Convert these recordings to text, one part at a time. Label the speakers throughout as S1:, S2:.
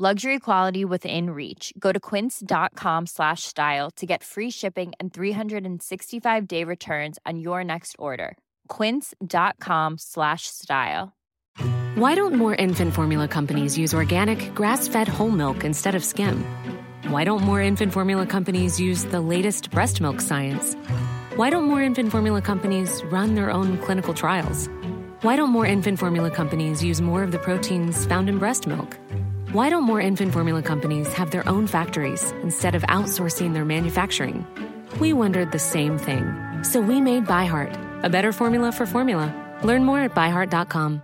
S1: Luxury quality within reach. Go to quince.com slash style to get free shipping and 365 day returns on your next order. Quince.com slash style.
S2: Why don't more infant formula companies use organic, grass fed whole milk instead of skim? Why don't more infant formula companies use the latest breast milk science? Why don't more infant formula companies run their own clinical trials? Why don't more infant formula companies use more of the proteins found in breast milk? Why don't more infant formula companies have their own factories instead of outsourcing their manufacturing? We wondered the same thing. So we made ByHeart, a better formula for formula. Learn more at byheart.com.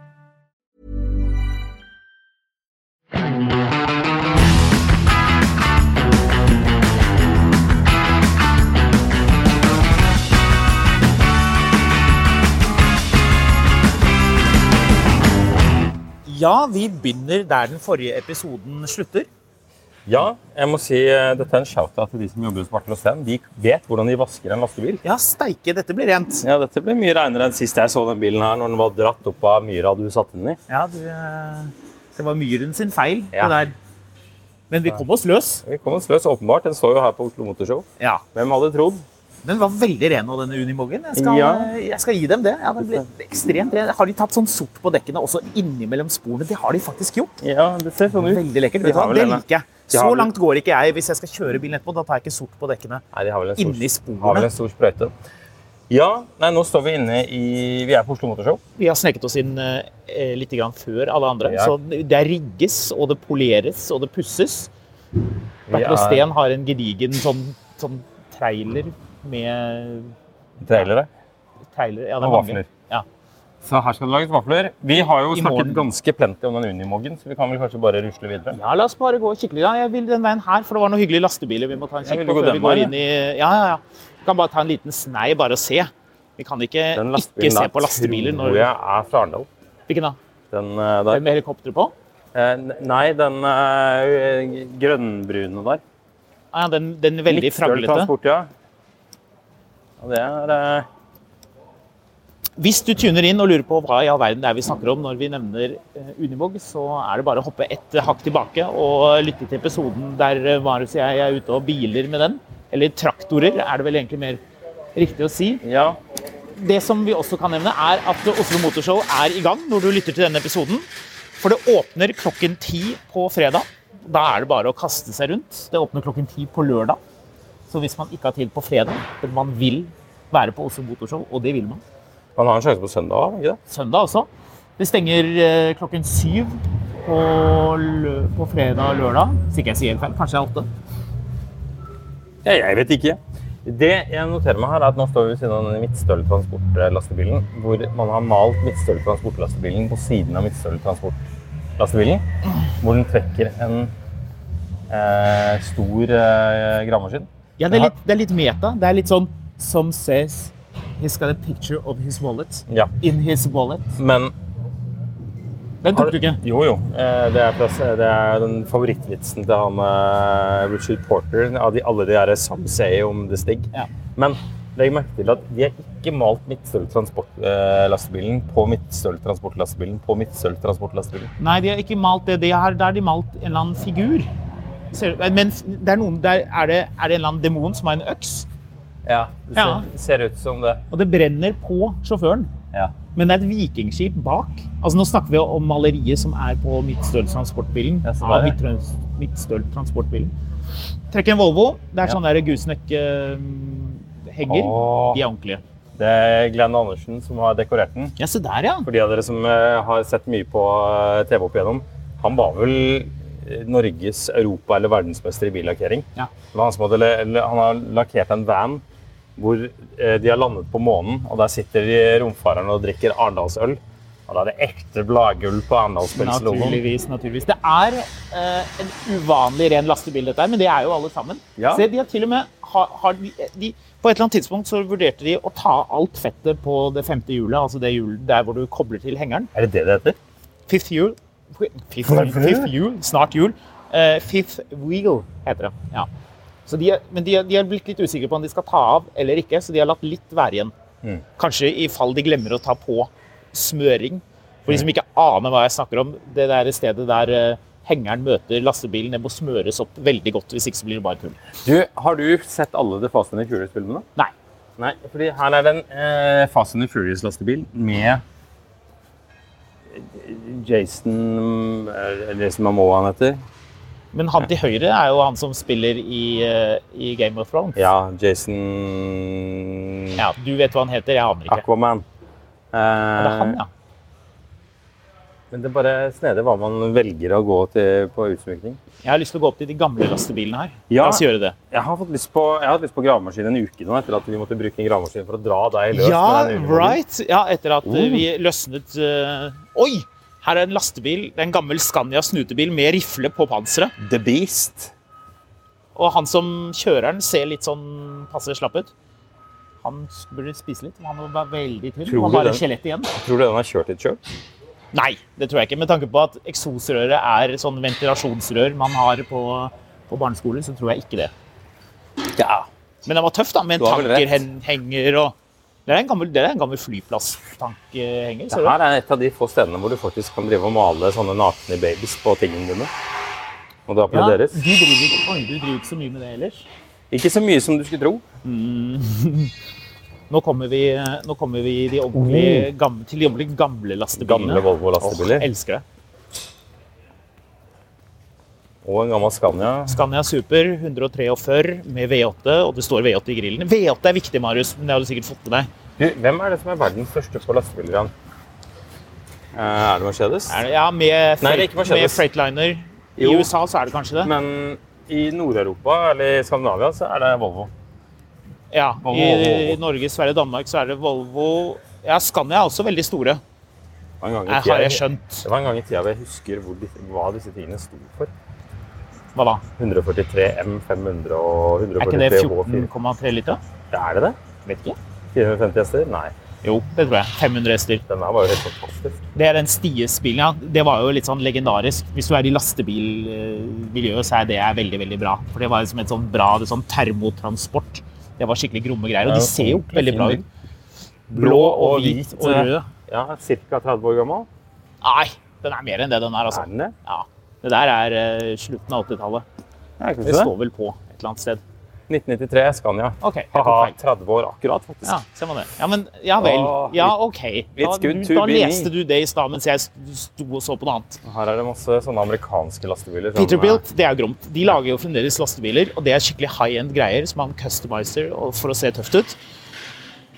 S3: Ja, vi begynner der den forrige episoden slutter.
S4: Ja, jeg må si eh, dette er en shout-out til de som jobber hos Martin og Sven. De vet hvordan de vasker en lastebil.
S3: Ja, steike, dette blir rent.
S4: Ja, dette ble mye reinere enn sist jeg så den bilen her, når den var dratt opp av myra du satte den i.
S3: Ja, du, eh, det var myren sin feil,
S4: Ja.
S3: det der. Men vi kom oss løs.
S4: Vi kom oss løs, åpenbart. Den står jo her på Oslo Motorshow.
S3: Ja.
S4: Hvem hadde trodd?
S3: Den var veldig ren nå, denne Unimogen. Jeg skal,
S4: Ja.
S3: jeg skal gi dem det. Ja, den ble ekstremt ren. Har de tatt sånn sort på dekkene også innimellom sporene? Det har de faktisk gjort.
S4: Ja, det ser sånn ut.
S3: Veldig lekkert.
S4: De
S3: Det,
S4: har vel
S3: det
S4: en-
S3: liker jeg.
S4: de
S3: Så
S4: har vel-
S3: langt går ikke jeg. Hvis jeg skal kjøre bilen etterpå, da tar jeg ikke sort på dekkene.
S4: Nei, de har vel en
S3: Inni
S4: stor,
S3: sporene.
S4: har vel en stor sprøyte. Ja, nei, nå står vi inne i Vi er på Oslo Motorshow.
S3: Vi har sneket oss inn eh, litt grann før alle andre.
S4: Ja.
S3: Så det rigges, og det poleres, og det pusses.
S4: Vi
S3: Bertil og
S4: er
S3: Steen har en gedigen sånn, sånn trailer med
S4: trailere
S3: trailer, ja, det er mange.
S4: og vafler.
S3: Ja.
S4: Så her skal det lages vafler. Vi har jo
S3: I
S4: snakket
S3: morgen.
S4: ganske plenty om den Unimoggen, så vi kan vel kanskje bare rusle videre.
S3: ja, la oss bare gå skikkelig. Ja, jeg vil den veien her, for det var noen hyggelige lastebiler vi må ta en
S4: Ja,
S3: kikk på
S4: vil du gå
S3: før vi
S4: den
S3: går
S4: veien,
S3: inn i Ja, ja, ja. Vi kan bare ta en liten snei, bare og se. Vi kan ikke
S4: Den
S3: ikke
S4: lastebilen
S3: se
S4: der
S3: på lastebiler
S4: tror
S3: når
S4: jeg er fra Arendal.
S3: Hvilken da?
S4: Den eh,
S3: Den
S4: der.
S3: med helikopteret på?
S4: Eh, Nei, den eh, grønnbrune der.
S3: Ah, ja, den, den veldig
S4: Liksøl
S3: fraglete.
S4: Transport, ja. ja. Det er eh,
S3: Hvis du tuner inn og lurer på hva i all verden det er vi snakker om når vi nevner eh, Univåg, så er det bare å hoppe et hakk tilbake og lytte til episoden der eh, Marius og jeg er ute og biler med den. Eller traktorer, er det vel egentlig mer riktig å si.
S4: Ja.
S3: Det som vi også kan nevne, er at Oslo Motorshow er i gang når du lytter til denne episoden. For det åpner klokken ti på fredag. Da er det bare å kaste seg rundt. Det åpner klokken ti på lørdag. Så hvis man ikke har tid på fredag, men man vil være på Oslo Motorshow, og det vil man,
S4: Man har en sjanse på søndag har man ikke det?
S3: søndag også. Det stenger eh, klokken syv på, lø på fredag og lørdag. Hvis ikke jeg sier helt feil, kanskje det er åtte.
S4: Ja, jeg vet ikke. Det jeg noterer meg her, er at nå står vi ved siden av denne midtstøltransportlastebilen, hvor man har malt midtstøltransportlastebilen på siden av midtstøltransportlastebilen, hvor den trekker en eh, stor eh, gravemaskin.
S3: Ja, det er, litt, det er litt meta. Det er litt sånn Some says he's got a picture of his wallet
S4: Ja,
S3: in his wallet.
S4: men
S3: Den tok du ikke.
S4: Jo, jo. Eh, Det er, fra- det er den favorittvitsen til han eh, Richard Porter. Av de, alle de der Sam sier om The Stig.
S3: Ja.
S4: Men legg merke til at de har ikke malt midtstøltransportlastebilen på midtstøltransportlastebilen på midtstøltransportlastebilen.
S3: Nei, de har ikke malt det. De har, der har de malt en eller annen figur. Ser, men det er, noen, der er, det, er det en eller annen demon som har en øks,
S4: Ja, det ser,
S3: Ja.
S4: ser ut som det.
S3: og det brenner på sjåføren.
S4: Ja.
S3: Men det er et vikingskip bak. Altså Nå snakker vi om maleriet som er på Midtstøl transportbilen.
S4: Ja, så
S3: av
S4: der, ja.
S3: Midttrans- Midtstøl transportbilen. Trekk en Volvo. Det er
S4: Ja.
S3: sånne der Gusenek-henger.
S4: Åh.
S3: De er ordentlige.
S4: Det er Glenn Andersen som har dekorert den.
S3: Ja, se der, ja.
S4: For de av dere som eh, har sett mye på eh, TV opp igjennom, han var vel eh, Norges, Europa eller verdensmester i billakkering.
S3: Ja.
S4: Det var han, som hadde, eller, han har lakkert en van hvor eh, de har landet på månen, og der sitter de romfarerne og drikker Arendalsøl. Og da er det ekte bladgulv på Arendalspelslogoen.
S3: Naturligvis. naturligvis. Det er eh, en uvanlig ren lastebil, dette her, men det er jo alle sammen.
S4: Ja.
S3: Se, de har til og med har, har de, eh, de, På et eller annet tidspunkt så vurderte de å ta alt fettet på det femte hjulet, altså det hjulet der hvor du kobler til hengeren.
S4: Er det det det heter?
S3: Fifth hjul Fifth, fifth hjul, snart jul. Eh, fifth wheel heter det. Ja. Så de, er- men de, er- de har blitt litt usikre på om de skal ta av eller ikke, så de har latt litt være igjen.
S4: Mm.
S3: Kanskje i fall de glemmer å ta på smøring. For de som
S4: Mm.
S3: ikke aner hva jeg snakker om, det der stedet der eh, hengeren møter lastebilen, det må smøres opp veldig godt, hvis ikke så blir det bare tull.
S4: Du, har du sett alle The Fast and the Furious-filmene?
S3: Nei.
S4: Nei, fordi her er det en eh, Fast and the Furious-lastebil med eh, Jason eh, Jason Momoa, han heter.
S3: Men han til høyre er jo han som spiller i, eh, i Game of Thrones.
S4: Ja, Jason
S3: Ja, du vet hva han heter, jeg aner ikke.
S4: Aquaman. Eh,
S3: Er det han, ja?
S4: Men det er bare snedig hva man velger å gå til på utsmykning.
S3: Jeg har lyst til å gå opp til de gamle lastebilene her.
S4: Ja.
S3: La oss gjøre det.
S4: Jeg har, fått lyst på, jeg har hatt lyst på gravemaskin en uke nå, etter at vi måtte bruke en gravemaskin for å dra deg løs.
S3: Ja,
S4: med den ulven.
S3: right. Ja, etter at eh,
S4: Oh.
S3: vi løsnet eh, Oi! Her er en lastebil. Det er en gammel Scania snutebil med rifle på panseret.
S4: The Beast.
S3: Og han som kjører den, ser litt sånn passe slapp ut. Han s- burde spise litt. men Han var veldig tynn.
S4: Tror
S3: Han
S4: du
S3: har bare
S4: det?
S3: skjelett igjen.
S4: Tror du den har kjørt litt sjøl?
S3: Nei, det tror jeg ikke. Med tanke på at eksosrøret er sånn ventilasjonsrør man har på, på barneskolen, så tror jeg ikke det.
S4: Ja.
S3: Men den var tøff, da, med en
S4: Du har vel rett.
S3: tankerhenger og Det er en gammel, det er en gammel flyplasstankehenger.
S4: Det
S3: ser du?
S4: her er et av de få stedene hvor du faktisk kan drive og male sånne nakne babies på tingene dine. Og det
S3: Ja, du
S4: applauderes.
S3: driver, ikke- oi, du driver ikke så mye med det ellers.
S4: Ikke så mye som du skulle tro.
S3: Nå kommer vi, eh, nå kommer vi de ordentlig gamle, til de ordentlig gamle lastebilene.
S4: Mm. Gamle Volvo-lastebiler.
S3: Elsker det.
S4: Og en gammel Scania.
S3: Scania Super 143 med V8, og det står V8 i grillen. V8 er viktig, Marius, men det har du sikkert fått med deg.
S4: Du, hvem er det som er verdens største på lastebiler? Jan? Eh, er det Mercedes?
S3: Er det, ja, med,
S4: Nei, det er
S3: freight,
S4: ikke Mercedes.
S3: med Freightliner. I
S4: Jo.
S3: USA så er det kanskje det?
S4: Men i Nord-Europa eller i Skandinavia så er det Volvo.
S3: Ja,
S4: Volvo,
S3: I, i
S4: Volvo.
S3: Norge, Sverige og Danmark så er det Volvo. Ja, Scania er også veldig store,
S4: Det var en gang i
S3: er-
S4: tida-
S3: har jeg skjønt.
S4: Det var en gang i tida hvor jeg husker hvor disse, hva disse tingene sto for.
S3: Hva da?
S4: 143 M, 500 og
S3: Er ikke det
S4: 143 H4.
S3: 14,3 liter?
S4: Er det det?
S3: Vet ikke.
S4: 450 hester? Nei.
S3: Jo, det tror jeg. 500 hester.
S4: Den her var jo helt fantastisk.
S3: Det er den Sties-bilen, ja. Det var jo litt sånn legendarisk. Hvis du er i lastebilmiljøet, så er det veldig, veldig bra. For det var liksom et sånn bra det er sånn termotransport. Det var skikkelig gromme greier. Og de ser jo veldig bra ut. Blå og hvit eh. og rød.
S4: Ja, ca. 30 år gammel.
S3: Nei, den er mer enn det den er, altså.
S4: Er den det?
S3: Ja. Det der er eh, slutten av 80-tallet.
S4: Ja, kanskje
S3: Det
S4: det.
S3: står vel på et eller annet sted.
S4: 1993 Scania.
S3: OK. jeg tok
S4: Haha,
S3: feil.
S4: 30 år akkurat, faktisk.
S3: Ja, ser man det. Ja, men, ja vel.
S4: Åh,
S3: Ja, OK. Da,
S4: it's good to
S3: da
S4: be me.
S3: leste du det i stad mens jeg sto og så på noe annet.
S4: Her er det masse sånne amerikanske lastebiler. som- eh,
S3: Peterbilt, det er gromt. De lager jo fremdeles lastebiler, og det er skikkelig high-end greier som man customiser og- for å se tøft ut.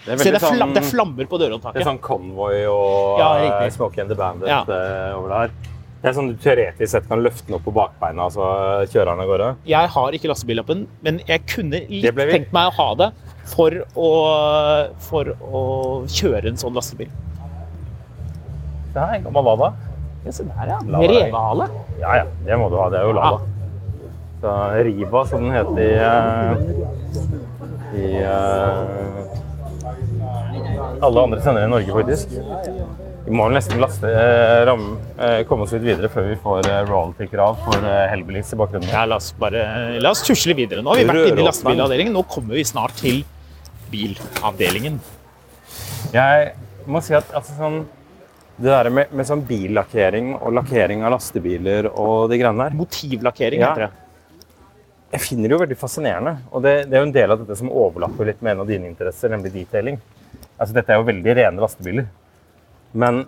S4: Det er
S3: Se, det
S4: veldig
S3: er, fla
S4: sånn,
S3: det er flammer på
S4: det er
S3: dørhåndtaket.
S4: sånn Convoy og
S3: Ja,
S4: eh,
S3: riktig.
S4: Smokey and the Bandit
S3: Ja.
S4: eh, over der. Det er sånn du teoretisk sett kan løfte den opp på bakbeina, så kjører den av gårde.
S3: Jeg har ikke lastebillappen, men jeg kunne litt
S4: Det ble vi.
S3: tenkt meg å ha det for å, for å kjøre en sånn lastebil.
S4: Det her er en gammel Lada.
S3: Ja, se der, ja.
S4: La
S3: Med
S4: være.
S3: revehale.
S4: Ja, ja, det må du ha. Det er jo
S3: Ah.
S4: Lada. Så Riva, som den heter i, eh, i eh, alle andre sender i Norge, faktisk. Vi må vel nesten laste, eh, ramme, eh, komme oss litt videre før vi får eh, royalty-krav for eh, Hellbillies i bakgrunnen.
S3: Ja, la oss bare la oss tusle videre. Nå har vi vært inne i lastebilavdelingen. Nå kommer vi snart til bilavdelingen.
S4: Jeg må si at altså, sånn, det der med, med sånn billakkering og lakkering av lastebiler og de greiene der
S3: Motivlakkering
S4: Ja.
S3: heter det.
S4: jeg finner det jo veldig fascinerende. Og det, det er jo en del av dette som overlapper litt med en av dine interesser, nemlig detailing. Altså, dette er jo veldig rene lastebiler. Men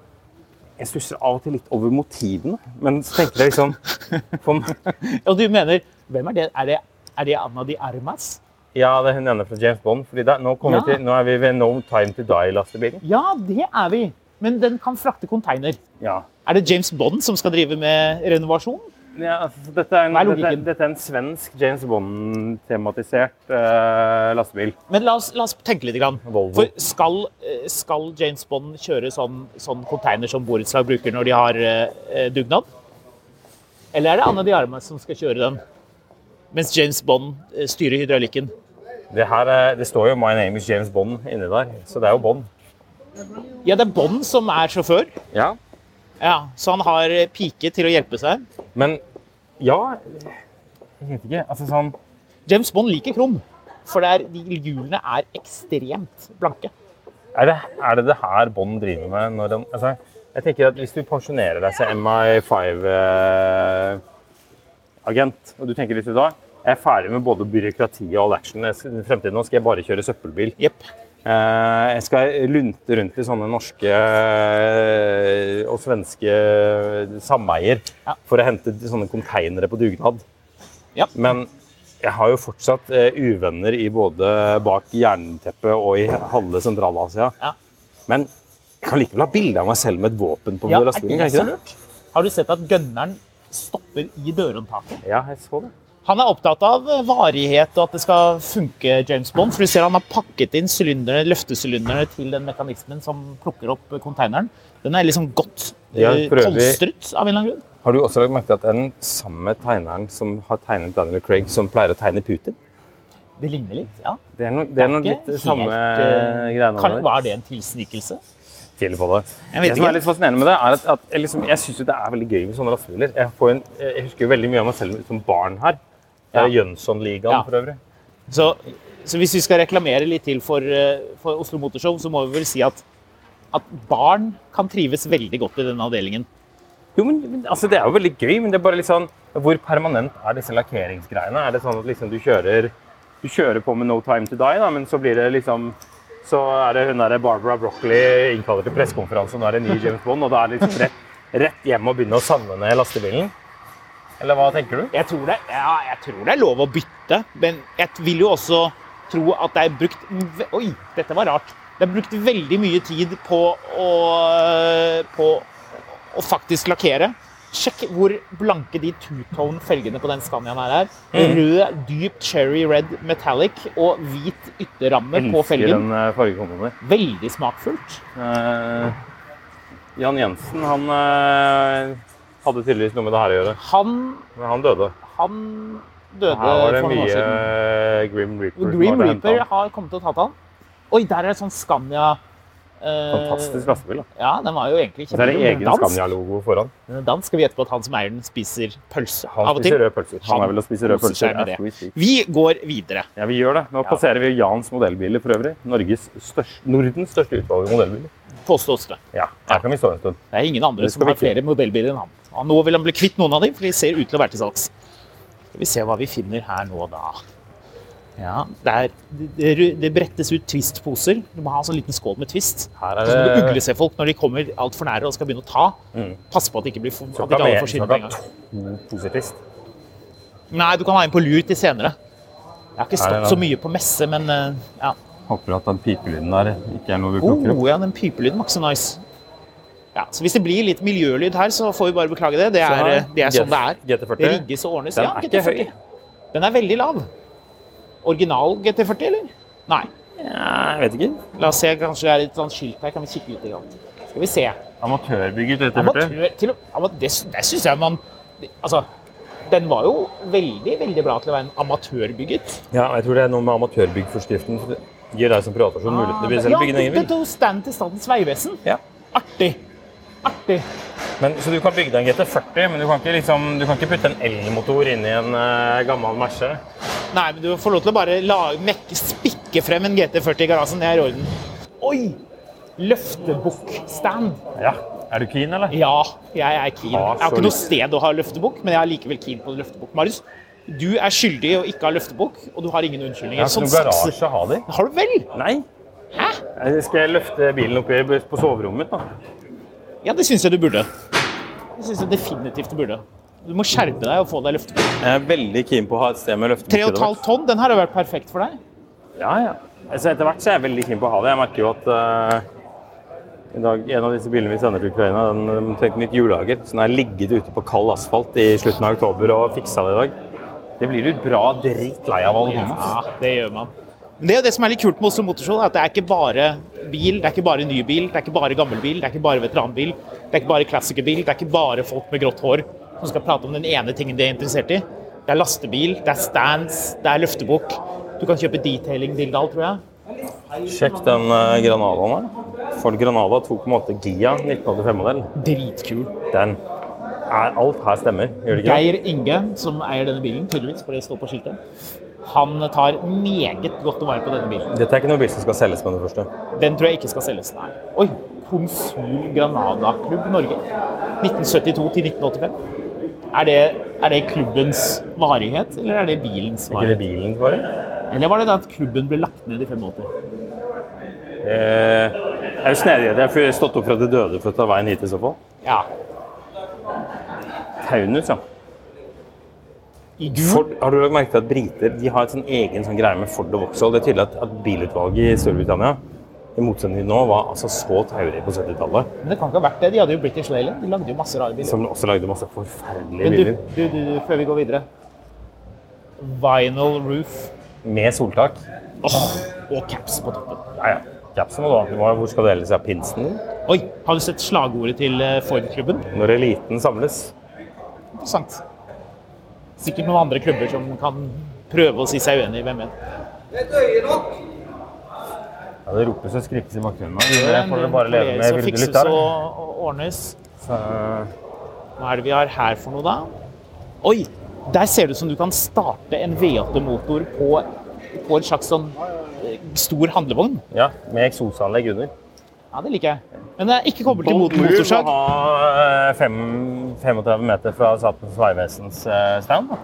S4: jeg stusser av og til litt over motivene. Men så tenker jeg liksom for, meg-
S3: Og du mener Hvem er det? Er det, er det Anna de Armas?
S4: Ja, det er hun ene fra James Bond. Fordi da, nå, kommer vi
S3: Ja.
S4: til, nå er vi ved No Time To Die-lastebilen.
S3: Ja, det er vi. Men den kan frakte konteiner.
S4: Ja.
S3: Er det James Bond som skal drive med renovasjon?
S4: Ja, altså, dette, er en,
S3: Hva er
S4: dette,
S3: logikken?
S4: dette er en svensk James Bond-tematisert eh, lastebil.
S3: Men la oss, la oss tenke litt. Grann.
S4: Volvo.
S3: For skal, eh, skal James Bond kjøre sånn, sånn container som borettslag bruker når de har eh, eh, dugnad? Eller er det Anne de Armas som skal kjøre den? Mens James Bond eh, styrer hydraulikken.
S4: Det, her, eh, det står jo 'My name is James Bond' inni der, så det er jo Bond.
S3: Ja, det er Bond som er sjåfør.
S4: Ja.
S3: Ja, Så han har eh, pike til å hjelpe seg.
S4: Men ja Jeg vet ikke. Altså sånn
S3: James Bond liker krum, for det er, de hjulene er ekstremt blanke.
S4: Er det er det, det her Bond driver med når han altså, Jeg tenker at hvis du pensjonerer deg som MI5-agent, eh, og du tenker litt ut da jeg er ferdig med både byråkrati og all action. Jeg skal- I fremtiden nå skal jeg bare kjøre søppelbil.
S3: Jepp.
S4: Eh, Jeg skal lunte rundt i sånne norske eh, og svenske sameier
S3: Ja.
S4: for å hente sånne konteinere på dugnad.
S3: Ja.
S4: Men jeg har jo fortsatt eh, uvenner i både bak jernteppet og i halve Sentral-Asia.
S3: Ja.
S4: Men jeg kan likevel ha bilde av meg selv med et våpen på
S3: Ja, er
S4: lastebilen.
S3: det
S4: kan jeg
S3: så
S4: ikke det?
S3: lurt? Har du sett at gønneren stopper i dørhåndtaket?
S4: Ja, jeg så det.
S3: Han er opptatt av varighet og at det skal funke, James Bond. For du ser han har pakket inn sylinderne, løftesylinderne til den mekanismen som plukker opp konteineren. Den er liksom godt
S4: Ja,
S3: eh,
S4: for øvrig-
S3: polstret, av en eller annen grunn.
S4: Har du også lagt merke til at det er den samme tegneren som har tegnet Daniel Craig, som pleier å tegne Putin?
S3: Det ligner litt, ja.
S4: Det er noe, det er noe
S3: Ikke
S4: litt det samme
S3: helt, eh,
S4: greiene
S3: kan,
S4: der.
S3: Var det en tilsnikelse?
S4: tviler på det.
S3: Jeg vet
S4: det som
S3: ikke.
S4: er litt fascinerende med det, er at, at jeg, liksom, jeg syns det er veldig gøy med sånne lastebiler. Jeg, får en, jeg husker jo veldig mye av meg selv som barn her. Det er Jønsson-ligaen
S3: Ja.
S4: for øvrig.
S3: Så, så hvis vi skal reklamere litt til for, eh, for Oslo Motorshow, så må vi vel si at, at barn kan trives veldig godt i denne avdelingen.
S4: Jo, men, men altså, Det er jo veldig gøy, men det er bare litt sånn Hvor permanent er disse lakkeringsgreiene? Er det sånn at liksom du kjører du kjører på med No Time To Die, da, men så blir det liksom Så er det hun der Barbara Broccoli innkaller til pressekonferanse, og nå er det ny James Bond, og da er det liksom rett, rett hjem og begynne å savne ned lastebilen? Eller hva tenker du?
S3: Jeg tror det, ja, jeg tror det er lov å bytte, men jeg vil jo også tro at det er brukt ve- Oi, dette var rart. Det er brukt veldig mye tid på å, på å faktisk lakkere. Sjekk hvor blanke de two-tone-felgene på den Scaniaen her er.
S4: Mm.
S3: Rød, dypt cherry red metallic og hvit ytterramme på
S4: Elsker
S3: felgen.
S4: den eh, fargekomboen der.
S3: Veldig smakfullt.
S4: Eh, Jan Jensen han eh, hadde tydeligvis noe med det her å gjøre,
S3: Han,
S4: men han døde.
S3: han døde
S4: Her var det
S3: for noen år
S4: mye
S3: siden.
S4: eh, Grim Reaper. som
S3: Grim
S4: hadde hentet
S3: Reaper
S4: han.
S3: har kommet og tatt han. Oi, der er det sånn Scania eh,
S4: Fantastisk lastebil. da.
S3: Ja, den var jo egentlig
S4: Og Så er det
S3: kjempegod.
S4: egen
S3: Dansk.
S4: Scania-logo foran.
S3: Den er Dansk skal vi gjette på at han som eier den, spiser pølse
S4: Han
S3: av og til.
S4: spiser røde pølser. Han
S3: Han
S4: er vel å spise røde
S3: koser seg
S4: pølser.
S3: med
S4: as
S3: det.
S4: we speak.
S3: Vi går videre.
S4: Ja, vi gjør det. Nå passerer vi Jans modellbiler for øvrig. Norges største, Nordens største utvalg av modellbiler.
S3: Påstås det.
S4: Ja, her kan vi stå en stund.
S3: Det er ingen andre
S4: Det
S3: som
S4: skal
S3: har
S4: vi
S3: flere modellbiler enn han. Og nå vil han bli kvitt noen av dem, for de ser ut til å være til salgs. Skal vi se hva vi finner her nå, da. Ja, det, er, det, det brettes ut Twist-poser. Du må ha en sånn liten skål med Twist.
S4: Her
S3: Så må du
S4: er
S3: ugle
S4: det
S3: seg folk når de kommer altfor nære og skal begynne å ta.
S4: Mm.
S3: Pass på at de ikke blir for, at
S4: Så
S3: de ikke alle
S4: mer-
S3: får skinne
S4: så
S3: på
S4: kan-
S3: en gang.
S4: positivt.
S3: Nei, du kan ha en på lur til senere. Jeg har ikke
S4: Nei,
S3: stått
S4: nei.
S3: så mye på messe, men eh, ja.
S4: Håper at den pipelyden der ikke er noe du
S3: Oh,
S4: plukker opp.
S3: ja, den pipelyden var ikke så nice. Ja, så hvis det blir litt miljølyd her, så får vi bare beklage det. Det
S4: Så
S3: er,
S4: her,
S3: eh, det er sånn det er. Det
S4: GT40.
S3: rigges og ordnes.
S4: Den
S3: ja,
S4: er ikke
S3: GT40. Den er veldig lav. Original GT40, eller? Nei.
S4: Ja, jeg vet ikke.
S3: La oss se, kanskje det er et sånt skilt her. Kan vi kikke litt? i gang? Skal vi se.
S4: Amatørbygget GT40.
S3: Amatør, til, og- ama- det det syns jeg man det- Altså, den var jo veldig, veldig bra til å være en amatørbygget.
S4: Ja, jeg tror det er noe med amatørbyggforskriften. Gir deg som privatperson muligheten til å selv bygge din
S3: ja,
S4: egen bil.
S3: det stand til Statens vegvesen.
S4: Ja.
S3: Artig. Artig.
S4: Men, så du kan bygge deg en GT40, men du kan ikke, liksom, du kan ikke putte en elmotor inn i en eh, gammel Merce.
S3: Nei, men du får lov til å bare la, mekke, spikke frem en GT40 i garasjen. Det er i orden. Oi! Løftebukk-stand.
S4: Ja. Er du keen, eller?
S3: Ja, jeg er keen.
S4: Ah,
S3: Jeg har
S4: så
S3: ikke noe
S4: lyst.
S3: sted å ha løftebukk, men jeg er likevel keen på løftebukk. Marius, du er skyldig i å ikke ha løftebukk, og du har ingen unnskyldninger.
S4: Jeg har ikke
S3: Sånn
S4: noen
S3: saks-
S4: garasje å ha det i.
S3: Har du vel?
S4: Nei.
S3: Hæ?
S4: Jeg skal jeg løfte bilen opp i, på soverommet mitt, da?
S3: Ja, det syns jeg du burde. Det syns jeg definitivt du burde. Du må skjerpe deg og få deg løftebukk.
S4: Jeg er veldig keen på å ha et sted med løftemuskler.
S3: 3,5 tonn, den her har vært perfekt for deg.
S4: Ja, ja. Altså, etter hvert så er jeg veldig keen på å ha det. Jeg merker jo at eh, I dag, en av disse bilene vi sender til Ukraina, den eh, trengte nytt hjullager. Så den har ligget ute på kald asfalt i slutten av oktober og fiksa det i dag. Det blir du bra drittlei av alle sammen. ass.
S3: Ja, det gjør man. Men det er jo det som er litt kult med Oslo Motorshow, er at det er ikke bare bil, det er ikke bare ny bil, det er ikke bare gammel bil, det er ikke bare veteranbil, det er ikke bare klassikerbil, det er ikke bare folk med grått hår som skal prate om den ene tingen de er interessert i. Det er lastebil, det er stands, det er løftebok. Du kan kjøpe detailing dilldall, tror jeg.
S4: Sjekk den eh, Granadaen her. Ford Granada 2,8 Gia 1985-modell.
S3: Dritkul.
S4: Den er Alt her stemmer, gjør det ikke? det?
S3: Geir Inge, som eier denne bilen, tydeligvis, for det står på skiltet, han tar meget godt vare på denne bilen.
S4: Dette er ikke noen bil som skal selges med det første.
S3: Den tror jeg ikke skal selges. Nei. Oi! Konsul Granada Klubb Norge. 1972 til 1985. Er det, er det klubbens varighet, eller er det bilens
S4: Er ikke det
S3: varighet?
S4: bilen bare?
S3: Eller var det da at klubben ble lagt ned i 85?
S4: Eh, jeg er jo snedig, jeg har stått opp fra det døde for å ta veien hit i så fall.
S3: Ja.
S4: Taunus, ja.
S3: I gul?
S4: Ford, har du lagt merke til at briter de har et sånn egen sånn greie med Ford og Vauxhall? Det er tydelig at, at bilutvalget i Storbritannia i motsetning til nå, var altså så taurig på 70-tallet.
S3: Men det kan ikke ha vært det. De hadde jo British Leyland. De lagde jo masse rare biler.
S4: Som også lagde masse forferdelige
S3: Men du,
S4: biler.
S3: du, du, du før vi går videre Vinyl roof
S4: Med soltak.
S3: og caps på toppen.
S4: Ja, ja. Capsen må du ha. Du må- Hvor skal du ellers ha pinsen din?
S3: Oi! Har du sett slagordet til eh, Ford-klubben?
S4: Når eliten samles.
S3: Interessant. Sikkert noen andre klubber som kan prøve å si seg uenig, hvem vet.
S4: Ja, det ropes og skrikes i bakgrunnen.
S3: Men det kolleges og fikses og, og ordnes. Hva er det vi har her for noe, da? Oi! Der ser det ut som du kan starte en V8-motor på, på en slags sånn eh, stor handlevogn.
S4: Ja, med eksosanlegg under.
S3: Ja, det liker jeg. Men det er ikke koblet til mot
S4: Bolt Move må
S3: motorsag.
S4: ha eh, fem- 35 meter fra Statens vegvesens eh, stand. da.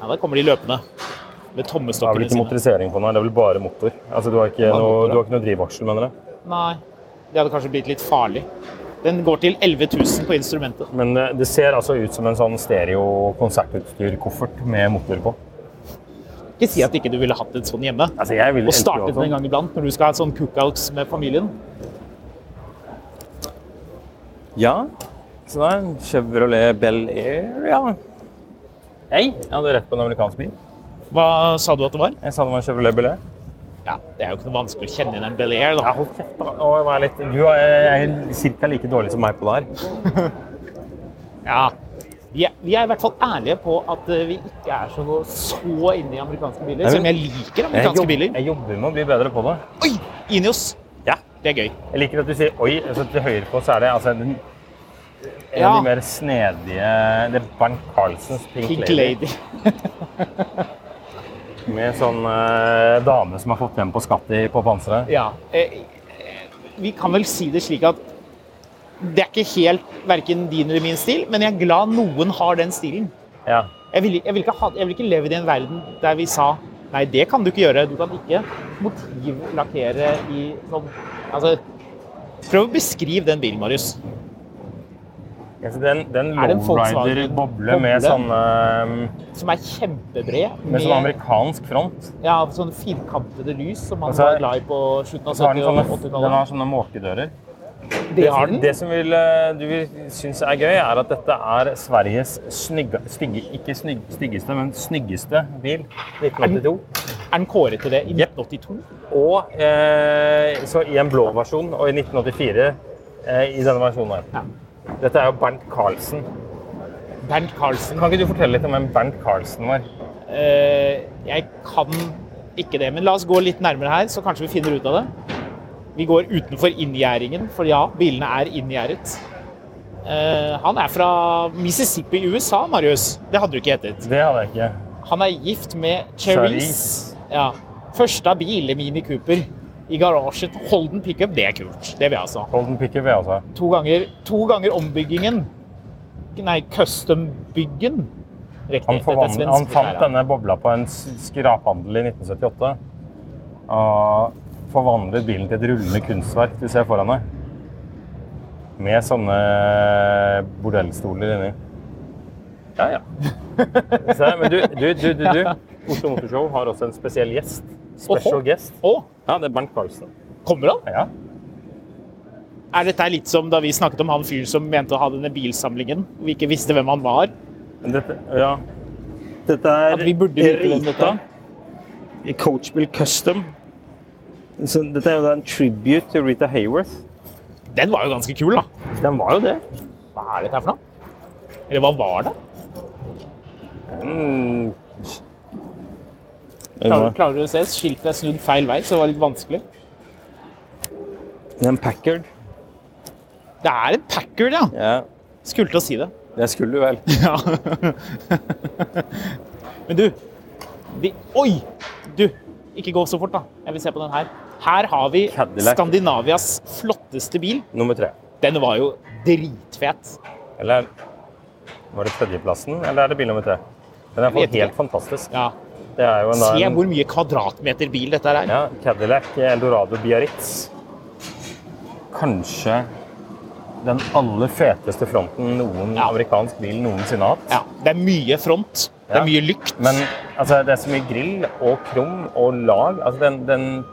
S3: Ja, der kommer de løpende. Med
S4: Det er vel
S3: tommestokkene
S4: ikke
S3: sine.
S4: motorisering på den her, det er vel bare motor. Altså, du, har ikke
S3: Bare
S4: noe,
S3: motor, ja.
S4: du har ikke noe drivaksel, mener jeg.
S3: Nei. Det hadde kanskje blitt litt farlig. Den går til 11 000 på instrumentet.
S4: Men eh, det ser altså ut som en sånn stereo-konsertutstyr-koffert med motor på.
S3: Ikke si at ikke du ville hatt et sånn hjemme.
S4: Altså, jeg vil
S3: Og startet en gang iblant når du skal ha sånn cookouts med familien.
S4: Ja. Så det er en Chevrolet Bel Air, ja. Hei, jeg hadde rett på en amerikansk bil.
S3: Hva sa du at det var?
S4: Jeg sa det var en Chevrolet Bel Air.
S3: Ja, Det er jo ikke noe vanskelig å kjenne igjen en Bel Air. da.
S4: Hold kjeft, da. Og vær litt... Du eh, er er cirka like dårlig som meg på det her.
S3: Ja. Vi er, vi er i hvert fall ærlige på at eh, vi ikke er så, så inne i amerikanske biler.
S4: Nei,
S3: Selv om
S4: men-
S3: jeg liker
S4: Jeg,
S3: amerikanske
S4: jobb-
S3: biler.
S4: jeg jobber med å bli bedre på det.
S3: Oi! Inios.
S4: Ja.
S3: Det er gøy.
S4: Jeg liker at du sier oi, altså til høyre på så er det altså en, en
S3: Ja.
S4: av de mer snedige Det er Bernt Carlsens Pink,
S3: Pink
S4: Lady.
S3: Lady.
S4: Med sånn eh, dame som har fått hjem på skatt i, på panseret.
S3: Ja. Eh, eh, vi kan vel si det slik at det er ikke helt verken din eller min stil, men jeg er glad noen har den stilen.
S4: Ja.
S3: Jeg ville vil ikke, ha- jeg vil ikke levd i en verden der vi sa nei, det kan du ikke gjøre. Du kan ikke motivlakkere i sånn Altså, prøv å beskrive den bilen, Marius.
S4: Ja, så den den
S3: Er det en Volkswagen
S4: lowrider-boble
S3: boble?
S4: med, sånn, eh,
S3: Som er kjempebred.
S4: med sånn amerikansk front.
S3: ja, sånne firkantede lys som man
S4: Og så-
S3: var glad i på slutten av
S4: Så har den
S3: 70- og
S4: sånne, den
S3: 80-tallet.
S4: har sånne måkedører.
S3: Det har den.
S4: Det som vil, eh, du vil synes er gøy, er at dette er Sveriges snygge, stygge, ikke snygg, styggeste, men snyggeste bil. 1982.
S3: Er den kåret til det i
S4: Jep.
S3: 1982?
S4: Og eh, så i en blå versjon, og i 1984 eh, i denne versjonen her.
S3: Ja.
S4: Dette er jo Bernt Carlsen.
S3: Bernt Karlsen
S4: Kan ikke du fortelle litt om hvem Bernt Carlsen var?
S3: Eh, jeg kan ikke det, men la oss gå litt nærmere her, så kanskje vi finner ut av det. Vi går utenfor inngjerdingen, for ja, bilene er inngjerdet. Eh, han er fra Mississippi i USA, Marius. Det hadde du ikke hetet.
S4: Det hadde jeg ikke.
S3: Han er gift med Cherise. Ja. Første av bil i Mini Cooper i garasjen. Holden pickup, det er kult. Det vil jeg altså.
S4: Golden Pickup, jeg også.
S3: To ganger, to ganger ombyggingen. Nei, custom-byggen. Riktig. dette
S4: Han,
S3: er
S4: forvandlet,
S3: svensk
S4: han
S3: her,
S4: fant
S3: ja.
S4: denne bobla på en s- skraphandel i 1978. Og forvandlet bilen til et rullende kunstverk du ser foran deg. Med sånne bordellstoler inni. Ja, ja. Se, men du, du, du, du, du. Oslo Motorshow har også en spesiell gjest. Special
S3: Oho.
S4: guest.
S3: Å,
S4: Ja, det er Bernt Karlsen.
S3: kommer han?
S4: Ja.
S3: Er dette litt som da vi snakket om han fyren som mente å ha denne bilsamlingen, og vi ikke visste hvem han var?
S4: Dette, ja. Dette er
S3: At vi burde vite hvem dette er?
S4: i Coachbill Custom. Så dette er jo da en tribute til Rita Hayworth.
S3: Den var jo ganske kul, da.
S4: Den var jo det.
S3: Hva er dette her for noe? Eller hva var det? Klarer,
S4: Mm. Den
S3: klarer du å se? Skiltet er snudd feil vei, så det var litt vanskelig.
S4: Packard.
S3: Det er en Packard, ja.
S4: Ja,
S3: Skulle til å si det.
S4: jeg skulle vel.
S3: Ja. Men du vi, Oi! Du, ikke gå så fort, da. Jeg vil se på den her. Her har vi
S4: Cadillac.
S3: Skandinavias flotteste bil.
S4: Nummer tre.
S3: Den var jo dritfet.
S4: Eller var det tredjeplassen, eller er det bil nummer tre? Den er i
S3: Vet
S4: hvert fall
S3: ikke.
S4: helt fantastisk.
S3: Ja.
S4: Det er jo en,
S3: Se
S4: en
S3: hvor mye kvadratmeter bil dette her er.
S4: ja, Cadillac Eldorado Biarritz. Kanskje den aller feteste fronten noen
S3: Ja.
S4: amerikansk bil noensinne har hatt.
S3: Ja, det er mye front. Det
S4: Ja.
S3: er mye lykt.
S4: Men altså, det er så mye grill og krom og lag. Altså, den, den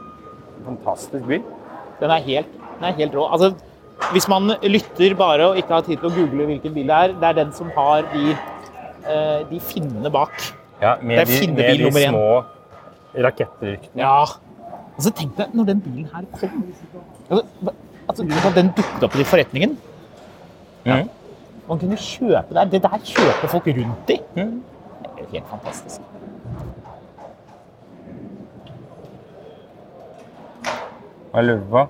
S4: fantastisk by.
S3: Den er helt, den er helt rå. Altså, hvis man lytter bare og ikke har tid til å google hvilken bil det er, det er den som har de, eh, de finnene bak.
S4: Ja, med
S3: Det er
S4: de,
S3: finnebil
S4: med de
S3: nummer én.
S4: små rakettryktene.
S3: Ja. Altså, tenk deg når den bilen her kom. Altså, hva- altså, tenk at den dukket opp i forretningen.
S4: Mhm.
S3: Man kunne kjøpe der. Det der kjøper folk rundt i.
S4: Mhm.
S3: Det er helt fantastisk.
S4: Jeg lurer på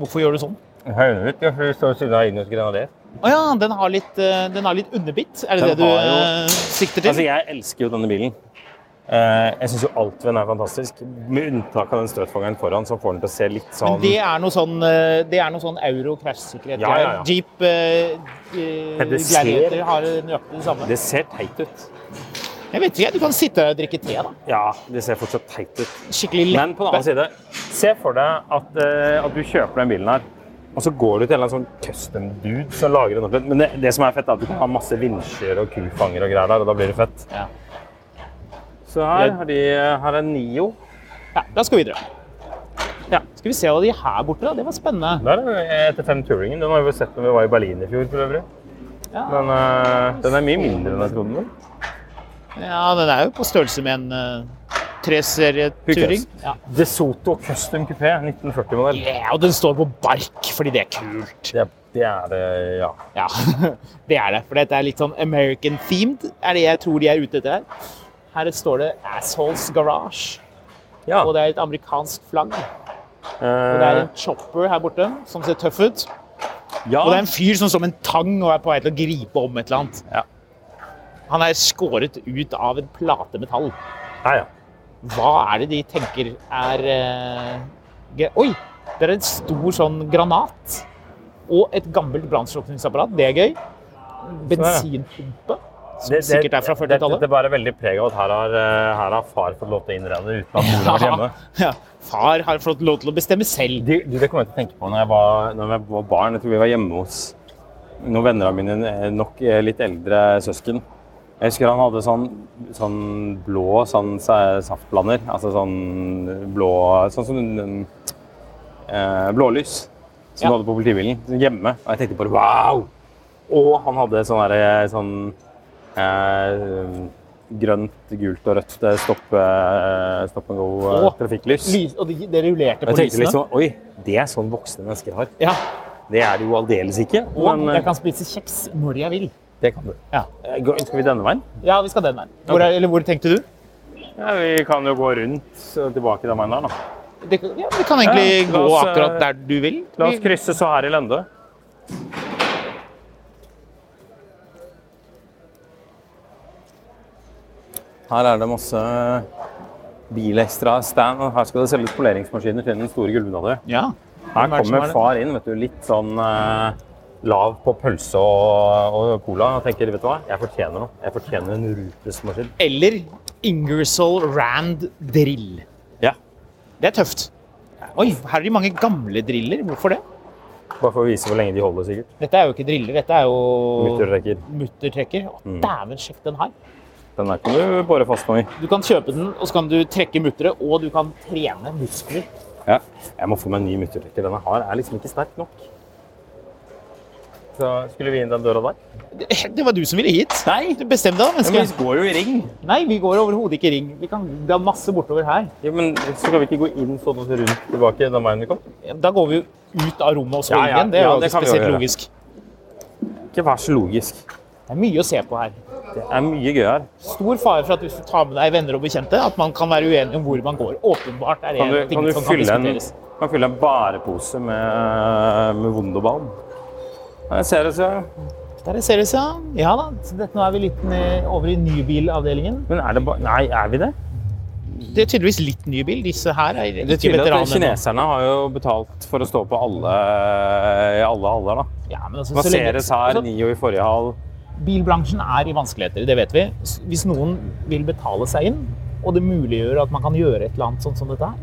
S3: Hvorfor gjør du sånn?
S4: Høynevitt, ja, for det står ved siden av Ignos Grenadier.
S3: Å ja, den har litt, eh, den har litt underbitt. Er det
S4: Den
S3: det du
S4: har jo-
S3: eh, sikter til?
S4: Altså, jeg elsker jo denne bilen. Eh, jeg syns jo alt ved den er fantastisk, med unntak av den støtfangeren foran, som får den til å se litt
S3: Men
S4: sånn
S3: det er noe sånn, eh, det er noe sånn euro krasjsikkerhet
S4: Ja, ja, ja.
S3: Jeep eh, eh,
S4: Men det ser-
S3: Gladiator har nøyaktig det samme.
S4: Det ser teit ut.
S3: Jeg vet ikke, Du kan sitte der og drikke te. da.
S4: Ja, det ser fortsatt teit ut.
S3: Skikkelig
S4: Men på den
S3: leppe.
S4: annen side, se for deg at, eh, at du kjøper den bilen her, og så går du til en eller annen sånn custom-dude som lager den ordentlig. Men det, det som er fett, er at du kan ha masse vinsjer og kufanger og greier der, og da blir det fett.
S3: Ja.
S4: Så her har de her er Nio.
S3: Ja, la oss gå videre. Ja, Skal vi se hva de her borte da? Det var spennende.
S4: Der er etter fem touringen. Den har vi jo sett når vi var i Berlin i fjor, for øvrig.
S3: Ja.
S4: Men eh, den er mye mindre enn jeg trodde. den var.
S3: Ja, Den er jo på størrelse med en uh,
S4: Who cares?
S3: treserieturing. Ja.
S4: De Soto Custom Coupé 1940-modell.
S3: ja, og den står på bark fordi det er kult.
S4: Det, det er det, ja.
S3: Ja, det er det. For dette er litt sånn American-themed, er det jeg tror de er ute etter her. Her står det 'Assholes Garage'.
S4: ja.
S3: Og det er et amerikansk flagg.
S4: eh,
S3: Og det er en chopper her borte som ser tøff ut.
S4: ja.
S3: Og det er en fyr som står med en tang og er på vei til å gripe om et eller annet.
S4: Ja.
S3: Han er skåret ut av en plate metall.
S4: Ja, ja.
S3: Hva er det de tenker er eh, ge- Oi! Det er en stor sånn granat. Og et gammelt brannslukningsapparat. Det er gøy. Bensinpumpe. Som
S4: Det- det-
S3: sikkert er fra
S4: det- Det,
S3: 40-tallet.
S4: det bærer veldig preg av at her har, eh, her har far fått lov til å innrede uten at mor har vært hjemme.
S3: Ja. Far har fått lov til å bestemme selv.
S4: De, de, det kom jeg til å tenke på når jeg, var, når jeg var barn. Jeg tror vi var hjemme hos noen venner av mine, eh, nok eh, litt eldre søsken. Jeg husker han hadde sånn, sånn blå sånn, sa- saftblander. Altså sånn blå Sånn som mm, eh, blålys
S3: Ja.
S4: som du hadde på politibilen sånn hjemme. Og jeg tenkte bare wow! Og han hadde sånn derre sånn eh, Grønt, gult og rødt eh, stopp, eh, stopp and
S3: Å,
S4: go-trafikklys.
S3: Lys, og det de rullerte på
S4: Jeg tenkte
S3: lysene.
S4: liksom, oi, det er sånn voksne mennesker har.
S3: Ja,
S4: Det er det jo aldeles ikke.
S3: Og
S4: Men
S3: jeg kan spise kjeks når jeg vil.
S4: det kan du.
S3: Ja,
S4: Eh, gå- Skal vi denne veien?
S3: ja vi skal den veien. Hvor, er- eller hvor tenkte du?
S4: Ja, vi kan jo gå rundt og tilbake den veien der, da.
S3: Det, ja, vi kan egentlig
S4: Ja, la
S3: gå
S4: oss, eh,
S3: akkurat der du vil.
S4: La oss
S3: Vi-
S4: krysse så her i Lende. Her er det masse bilekstra stand, og her skal det selges poleringsmaskiner til den store gulvna di.
S3: Ja.
S4: Her
S3: Hvem er det som er
S4: kommer
S3: det?
S4: far inn, vet du, litt sånn eh, lav på pølse og, og cola og tenker, vet du hva, jeg fortjener noe. Jeg fortjener en rutesmaskin.
S3: Eller Ingersoll Rand drill.
S4: Ja.
S3: Det er tøft. Oi, her er de mange gamle driller. Hvorfor det?
S4: Bare for å vise hvor lenge de holder, sikkert.
S3: Dette er jo ikke driller, dette er jo
S4: Mutterrekker.
S3: muttertrekker. Å, dæven, sjekk den her.
S4: Den der kan du bare fast noe i.
S3: Du kan kjøpe den, og så kan du trekke mutteret, og du kan trene muskler.
S4: Ja. Jeg må få meg en ny mutterrekker. Denne her er liksom ikke sterk nok. så skulle vi inn den døra der.
S3: Det det var du som ville hit. Nei. Du bestemte deg,
S4: Men
S3: menneske.
S4: vi går jo i ring.
S3: Nei, vi går overhodet ikke i ring. Vi kan dra masse bortover her.
S4: Jo, men så kan vi ikke gå inn sånn og så rundt tilbake den veien vi kom.
S3: Da går vi jo ut av rommet og så
S4: Ja,
S3: inn
S4: ja.
S3: igjen. Det er
S4: Ja,
S3: jo
S4: det
S3: ikke
S4: kan vi jo
S3: spesielt
S4: gjøre.
S3: logisk.
S4: Ikke vær så logisk.
S3: Det er mye å se på her.
S4: Det er mye gøy her.
S3: Stor fare for at hvis du tar med deg venner og bekjente, at man kan være uenig om hvor man går. Åpenbart er det
S4: Kan du,
S3: en ting
S4: kan du
S3: som kan
S4: fylle, en,
S3: diskuteres.
S4: kan fylle en bærepose med, med Wunderbaum? Ja, Jeg ser det, ser jeg.
S3: Der er Ceres, ja. Ja da. Så dette, nå er vi litt ned, over i nybilavdelingen.
S4: Men er det bare Nei, er vi det?
S3: Det er tydeligvis litt ny bil. Disse her er
S4: Det er
S3: ikke
S4: tydelig at
S3: veteraner. ennå.
S4: kineserne har jo betalt for å stå på alle, i alle haller, da.
S3: Ja, men altså,
S4: Det var
S3: så lenge-
S4: Ceres her,
S3: altså,
S4: Nio i forrige hall.
S3: Bilbransjen er i vanskeligheter, det vet vi. S- Hvis noen vil betale seg inn, og det muliggjør at man kan gjøre et eller annet sånt som dette her,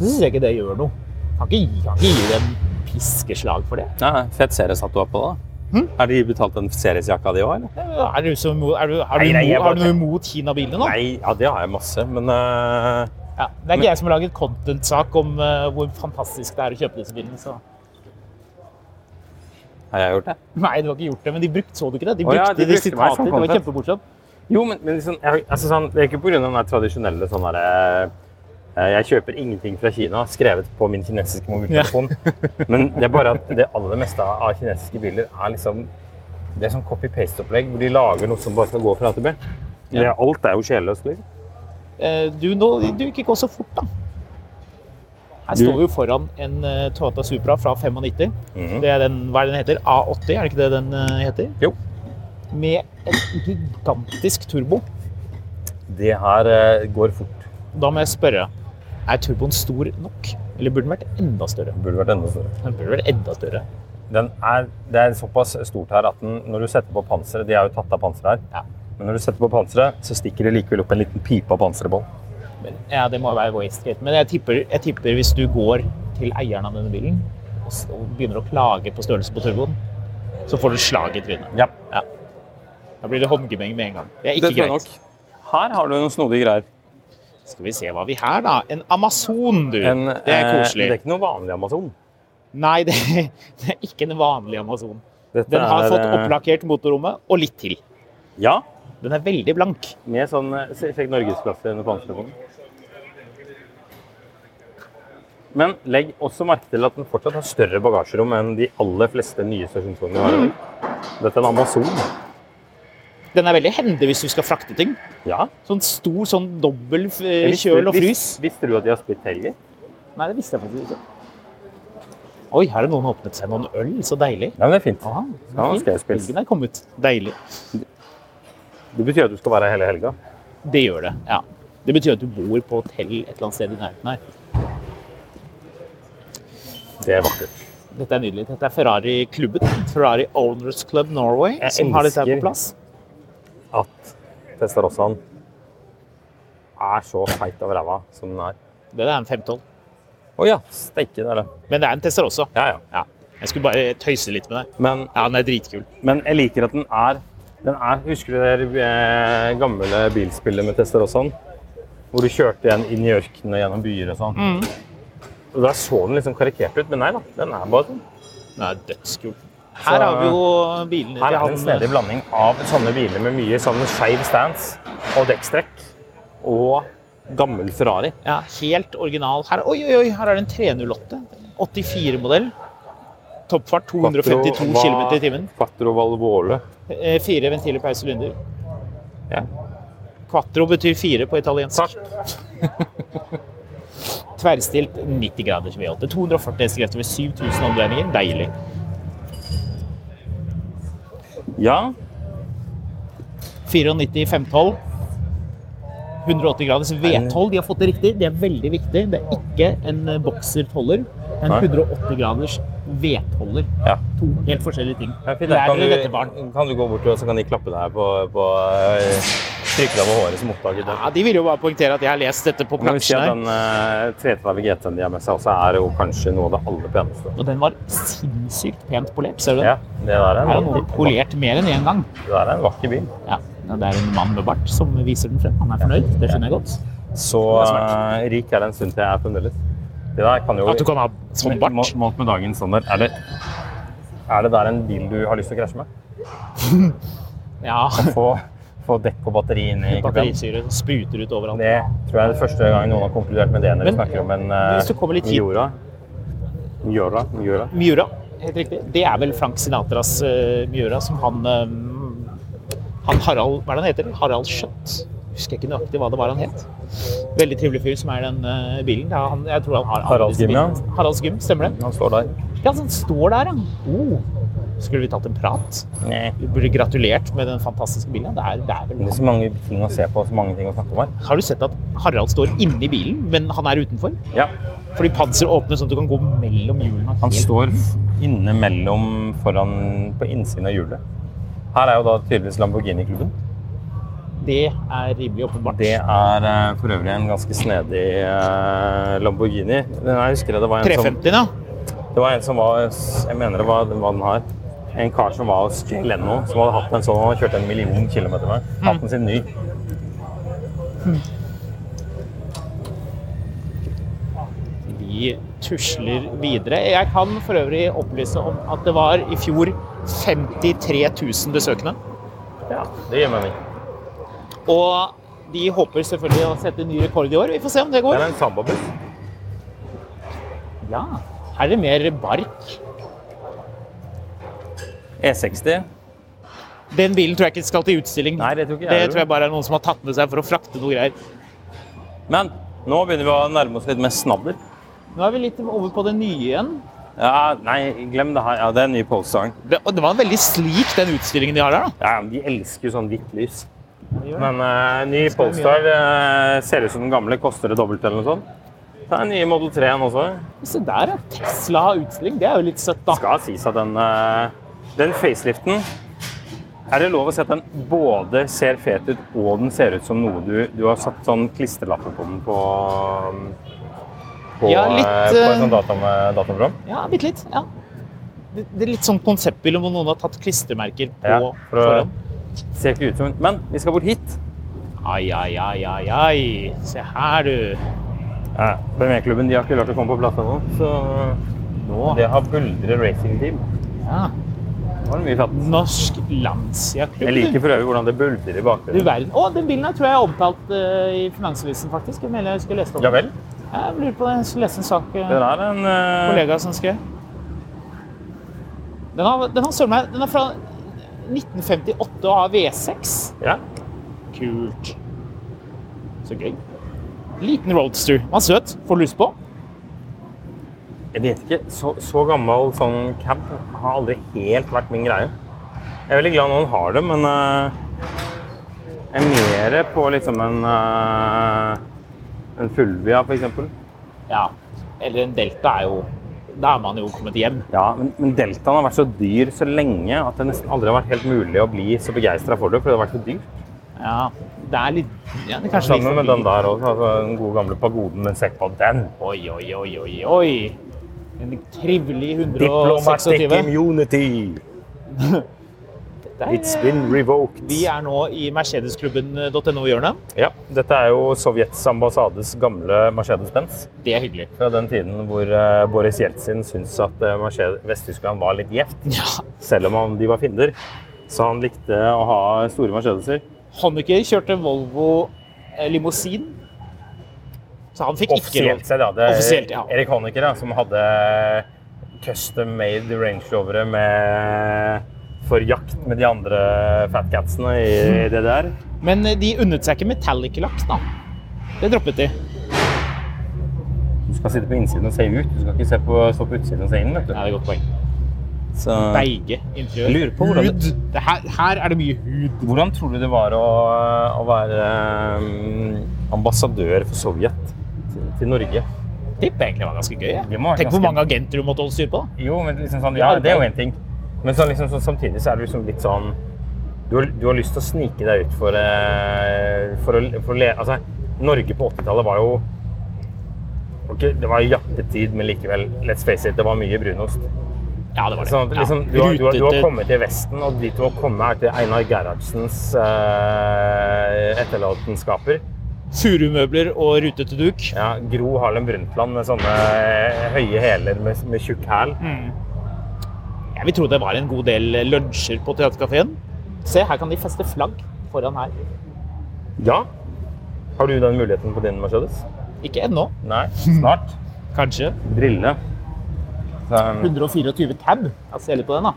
S3: så syns jeg ikke det gjør noe. Kan ikke, gi- kan ikke gi dem piskeslag for det.
S4: Nei, nei, fett Ceres hatt du har på deg, da.
S3: Hm?
S4: Er de betalt den Ceres-jakka di òg, eller?
S3: Er du, så, imot- er du, er du,
S4: Nei, nei, jeg
S3: imot-
S4: bare-
S3: er du noe imot Kina-bilene nå?
S4: Nei, ja, det har jeg masse, men eh,
S3: Ja, det er ikke jeg som har laget content-sak om eh, hvor fantastisk det er å kjøpe disse bilene. Så.
S4: har jeg gjort det?
S3: Nei, du har ikke gjort det, men de brukte, så du ikke det? De
S4: Å
S3: brukte,
S4: ja, de
S3: de
S4: brukte meg som
S3: sitater. Det var
S4: content.
S3: kjempemorsomt.
S4: Jo, men, men liksom, jeg, altså, sånn, det er ikke pga. den der tradisjonelle sånn derre eh, Jeg kjøper ingenting fra Kina, skrevet på min kinesiske mobiltelefon. men det er bare at det aller meste av kinesiske biler er liksom Det er sånn copy-paste-opplegg hvor de lager noe som bare skal gå fra A til B. Det er- Alt er jo sjelløst. Liksom.
S3: Eh, Du, nå, du gikk ikke så fort, da. Her
S4: Du-
S3: står vi jo foran en eh, Toyota Supra fra 95.
S4: Mhm.
S3: Det er den, hva er den heter? A80, er det ikke det den eh, heter?
S4: Jo.
S3: Med en gigantisk turbo.
S4: Det her eh, går fort.
S3: Da må jeg spørre, er turboen stor nok? Eller burde den vært enda større?
S4: Burde vært enda større.
S3: Den burde vært enda større.
S4: Den er, det er såpass stort her at den, når du setter på panseret De er jo tatt av panseret her.
S3: Ja.
S4: Men når du setter på panseret, så stikker det likevel opp en liten pipe av panseret på den.
S3: Men, ja, det må være wastegate. Men jeg tipper, jeg tipper hvis du går til eieren av denne bilen og, s- og begynner å klage på størrelsen på turboen, så får du slag i trynet.
S4: Ja,
S3: Da blir det håndgemeng med en gang. Det er ikke
S4: tror jeg
S3: greit.
S4: nok. Her har du noen snodige greier.
S3: Skal vi se hva vi har da. En Amazon, du.
S4: En,
S3: det er
S4: eh,
S3: koselig.
S4: det er ikke noe vanlig Amazon.
S3: Nei, det, det er ikke en vanlig Amazon.
S4: Dette
S3: Den har
S4: er,
S3: fått
S4: eh,
S3: opplakkert motorrommet og litt til.
S4: Ja,
S3: Den er veldig blank.
S4: med sånn eh, så jeg fikk norgesklasse under panseret på den. Men legg også merke til at den fortsatt har større bagasjerom enn de aller fleste nye stasjonsvogner har. i dag. Dette er en Amazon.
S3: Den er veldig hendig hvis du skal frakte ting.
S4: Ja.
S3: Sånn stor sånn dobbel eh,
S4: Visste-
S3: kjøl og
S4: vis-
S3: frys.
S4: Visste du at de har splitt helger?
S3: Nei, det visste jeg faktisk ikke. Oi, her har noen åpnet seg noen øl. Så deilig.
S4: Ja, men det er fint.
S3: Aha,
S4: Ja,
S3: fint.
S4: skal jeg spille.
S3: Helgen er kommet. Deilig.
S4: Det betyr at du skal være her hele helga.
S3: Det gjør det, ja. Det betyr at du bor på hotell et eller annet sted i nærheten her.
S4: Det er vakkert.
S3: Dette er nydelig. Dette er Ferrari-klubben. Ferrari Owners Club Norway
S4: Jeg
S3: som har dette her
S4: elsker-
S3: på plass.
S4: At Testarossene er så feit av ræva som den er.
S3: Det der er en 512.
S4: Å ja, steike, det er det.
S3: Men det er en Tesser også.
S4: Ja, ja.
S3: Ja. Jeg skulle bare tøyse litt med deg.
S4: Men,
S3: Ja, den er dritkul.
S4: men jeg liker at den er, den er Husker du det der, eh, gamle bilspillet med Testarossene? Hvor du kjørte igjen inn i ørkenen og gjennom byer og sånn.
S3: Mm.
S4: Og Der så den liksom karikert ut, men nei da. Den er bare sånn.
S3: Den er dødskul. Her har vi jo bilene
S4: Her
S3: til
S4: er det en snedig
S3: han.
S4: blanding av sånne biler med mye sånn skeiv stans og dekkstrekk og gammel Ferrari.
S3: Ja, helt original. Her, oi, oi, oi, her er det en 308. 84-modell. Toppfart 252 km i timen.
S4: Quattro Valvole.
S3: Eh, Fire ventiler, pause og lynder.
S4: Ja.
S3: Quattro betyr fire på italiensk.
S4: Takk.
S3: Tverrstilt 90 grader V8. 240 hestekrefter ved 7000 omdreininger. Deilig.
S4: Ja.
S3: 94 512. 180 graders V12. De har fått det riktig. Det er veldig viktig. Det er ikke en eh, bokser-toller. En
S4: Nei.
S3: 180 graders V12-er.
S4: ja.
S3: To helt forskjellige ting.
S4: Ja, fint.
S3: Lær
S4: Kan
S3: dere dette, barn.
S4: du, kan du gå bort og så kan de klappe deg på, på eh, Trykke deg på håret som oppdaget det.
S3: Ja, de vil jo bare poengtere at jeg har lest dette på
S4: Men jeg vil si at
S3: plansjen.
S4: den uh, tretall GT-en de har med seg, også er jo kanskje noe av det aller peneste.
S3: her. Og den var sinnssykt pent polert. Ser du den?
S4: Ja, det der er
S3: Her er
S4: en,
S3: noe
S4: vakker-
S3: polert mer enn én gang.
S4: det der er en vakker bil.
S3: Ja, ja, Det er en mann med bart som viser den frem. Han er fornøyd. Det skjønner jeg godt.
S4: Så eh, rik er den stund til jeg er fremdeles. Det der kan jo
S3: At du kan ha sånn bart.
S4: Målt med dagens standard er det Er det der en bil du har lyst til å krasje med?
S3: Ja.
S4: Få, få dekk og batteri inn i kuppen?
S3: Batterisyre som spruter ut overalt.
S4: Det tror jeg er det første gang noen har konkludert med det når vi
S3: Men
S4: snakker om en eh,
S3: hvis du kommer litt hit-
S4: Miura. Miura. Miura.
S3: Miura, helt riktig. Det er vel Frank Sinatras eh, Miura, som han eh, Han Harald Hva er det han heter? Harald Skjøtt? Husker jeg ikke nøyaktig hva det var han het. Veldig trivelig fyr som er den eh, bilen. Ja, han, jeg tror han har
S4: Harald Gym, ja.
S3: Haralds Gym, stemmer det?
S4: Han står der.
S3: Ja, så han står der, ja. Oh. Skulle vi tatt en prat?
S4: Nei.
S3: Vi burde gratulert med den fantastiske bilen. ja. Det er, det er vel liksom-
S4: Det er så mange ting å se på så mange ting å snakke om her.
S3: Har du sett at Harald står inni bilen, men han er utenfor?
S4: Ja.
S3: Fordi panser åpner sånn at du kan gå mellom hjulene.
S4: Han
S3: Helt-
S4: står f- inne mellom foran på innsiden av hjulet. Her er jo da tydeligvis Lamborghini-klubben.
S3: Det er rimelig åpenbart.
S4: Det er eh, for øvrig en ganske snedig eh, Lamborghini. Den her husker jeg det var en som
S3: 350, da?
S4: Det var en som var Jeg mener det var hva den har. En kar som var hos Jay Leno, som hadde hatt en sånn han kjørte en million kilometer med.
S3: Mm.
S4: Hatt den sin ny.
S3: Vi tusler videre. Jeg kan for øvrig opplyse om at det var i fjor 53 000 besøkende.
S4: Ja, det gir mening.
S3: Og de håper selvfølgelig å sette ny rekord i år. Vi får se om det
S4: Det
S3: går.
S4: er en sambabuss.
S3: Ja, her er det mer bark.
S4: E60.
S3: Den bilen tror jeg ikke skal til utstilling.
S4: Nei, det tror ikke jeg
S3: Det
S4: heller.
S3: tror jeg bare er noen som har tatt med seg for å frakte noe greier.
S4: Men nå begynner vi å nærme oss litt mer snadder.
S3: Nå er vi litt over på det nye igjen.
S4: Ja, nei, glem det her. Ja, det er en ny Polestar.
S3: Det, og det var en veldig slik, den utstillingen de har her. da.
S4: Ja, men de elsker jo sånn hvitt lys.
S3: De gjør det.
S4: Men eh, ny Polestar eh, ser ut som den gamle. Koster det dobbelt eller noe sånt? Det er en ny Model 3-en også.
S3: Se der, ja. Tesla har utstilling. Det er jo litt søtt, da.
S4: skal sies at den, eh, den faceliften Er det lov å si at den både ser fet ut, og den ser ut som noe du, du har satt sånn klisterlapper på den på um, på,
S3: Ja, litt,
S4: eh, på et
S3: eh,
S4: sånt datam, dataprogram?
S3: Ja, bitte litt. Ja. Det, det er litt sånn konseptbil om noen har tatt klistremerker på
S4: Ja, for å-
S3: foran.
S4: Ser ikke ut som en Men vi skal bort hit.
S3: Ai, ai, ai, ai, ai. Se her, du.
S4: Ja, BMW-klubben de har ikke klart å komme på plass ennå, så
S3: Nå.
S4: det har Buldre Racing Team.
S3: Ja.
S4: Det var mye fatt.
S3: Norsk Lancia-klubb.
S4: Jeg
S3: du.
S4: liker for øvrig hvordan det bulter i
S3: Du
S4: bakgrunnen.
S3: verden. Å, den bilen her tror jeg er omtalt eh, i Finansavisen, faktisk. Jeg mener jeg skulle lese om
S4: Ja vel.
S3: Jeg lurer på det. Jeg skulle lese en sak eh,
S4: Den er en eh,
S3: kollega som skrev. Den har, den har søren meg Den er fra 1958 og har V6.
S4: Ja.
S3: Kult. Så gøy. Liten roadster. Den var søt. Får du lyst på.
S4: Jeg vet ikke. Så, så gammel sånn cab har aldri helt vært min greie. Jeg er veldig glad noen har det, men eh, jeg er mer på liksom en, eh, en Fulvia, for eksempel.
S3: Ja. Eller en Delta er jo Da er man jo kommet hjem.
S4: Ja, men, men Deltaen har vært så dyr så lenge at det nesten aldri har vært helt mulig å bli så begeistra for det, fordi det har vært så dyrt.
S3: Ja. Det er litt ja, det er kanskje
S4: Sammen med den der også, altså, den gode gamle pagoden, den sekk på den.
S3: Oi, oi, oi, oi, oi. En trivelig 126.
S4: Diplomatic immunity!
S3: Der,
S4: It's been revoked.
S3: Vi er nå i mercedesklubben.no-hjørnet.
S4: Ja, dette er jo Sovjets ambassades gamle Mercedes-Benz.
S3: Det er hyggelig.
S4: Fra den tiden hvor eh, Boris Jeltsin syntes at eh, Mercedes- Vest-Tyskland var litt gjevt,
S3: Ja.
S4: selv om han- de var fiender. Så han likte å ha store Mercedeser.
S3: Honecker kjørte Volvo eh, limousin. Så han fikk ikke
S4: Offisielt
S3: lov.
S4: sett, ja. Det er
S3: Offisielt, ja.
S4: Erik Honecker da, som hadde custom made Range Rovere med for jakt med de andre Fat Catsene i DDR.
S3: Men eh, de unnet seg ikke metallic-laks, da. Det droppet de.
S4: Du skal sitte på innsiden og se ut, du skal ikke se på, stå på utsiden og se inn.
S3: Ja,
S4: vet du.
S3: det er et godt poeng.
S4: Så,
S3: Beige interiør.
S4: Lurer på hvordan-
S3: Hud. Det her, her er det mye hud.
S4: hvordan tror du det var å, å være eh, ambassadør for Sovjet til, til Norge?
S3: Tipper egentlig var ganske gøy. jeg.
S4: Det må være
S3: Tenk hvor
S4: ganske-
S3: mange agenter du måtte holde styr på. da.
S4: Jo, men liksom sånn, ja, det er jo en ting. Men sånn, liksom, sånn, samtidig så er det liksom litt sånn du har, du har lyst til å snike deg ut for, eh, for, å, for å le... Altså, Norge på 80-tallet var jo ok, Det var jappetid, men likevel, let's face it, det var mye brunost.
S3: Ja, det var det.
S4: Sånn, at
S3: Ja.
S4: liksom, du, har, du, har, du har
S3: Rutete-
S4: kommet til Vesten, og dit du har kommet, er til Einar Gerhardsens eh, etterlatenskaper.
S3: Furumøbler og rutete duk.
S4: Ja, Gro
S3: eh,
S4: Harlem Brundtland med sånne høye hæler med, med tjukk hæl.
S3: Jeg vil tro det var en god del eh, lunsjer på Theatercaféen. Se, her kan de feste flagg foran her.
S4: Ja. Har du den muligheten på din Mercedes?
S3: Ikke ennå,
S4: Nei. Snart.
S3: kanskje.
S4: Brillene.
S3: um,
S4: Så,
S3: 124 cab. Jeg ser litt på den, da.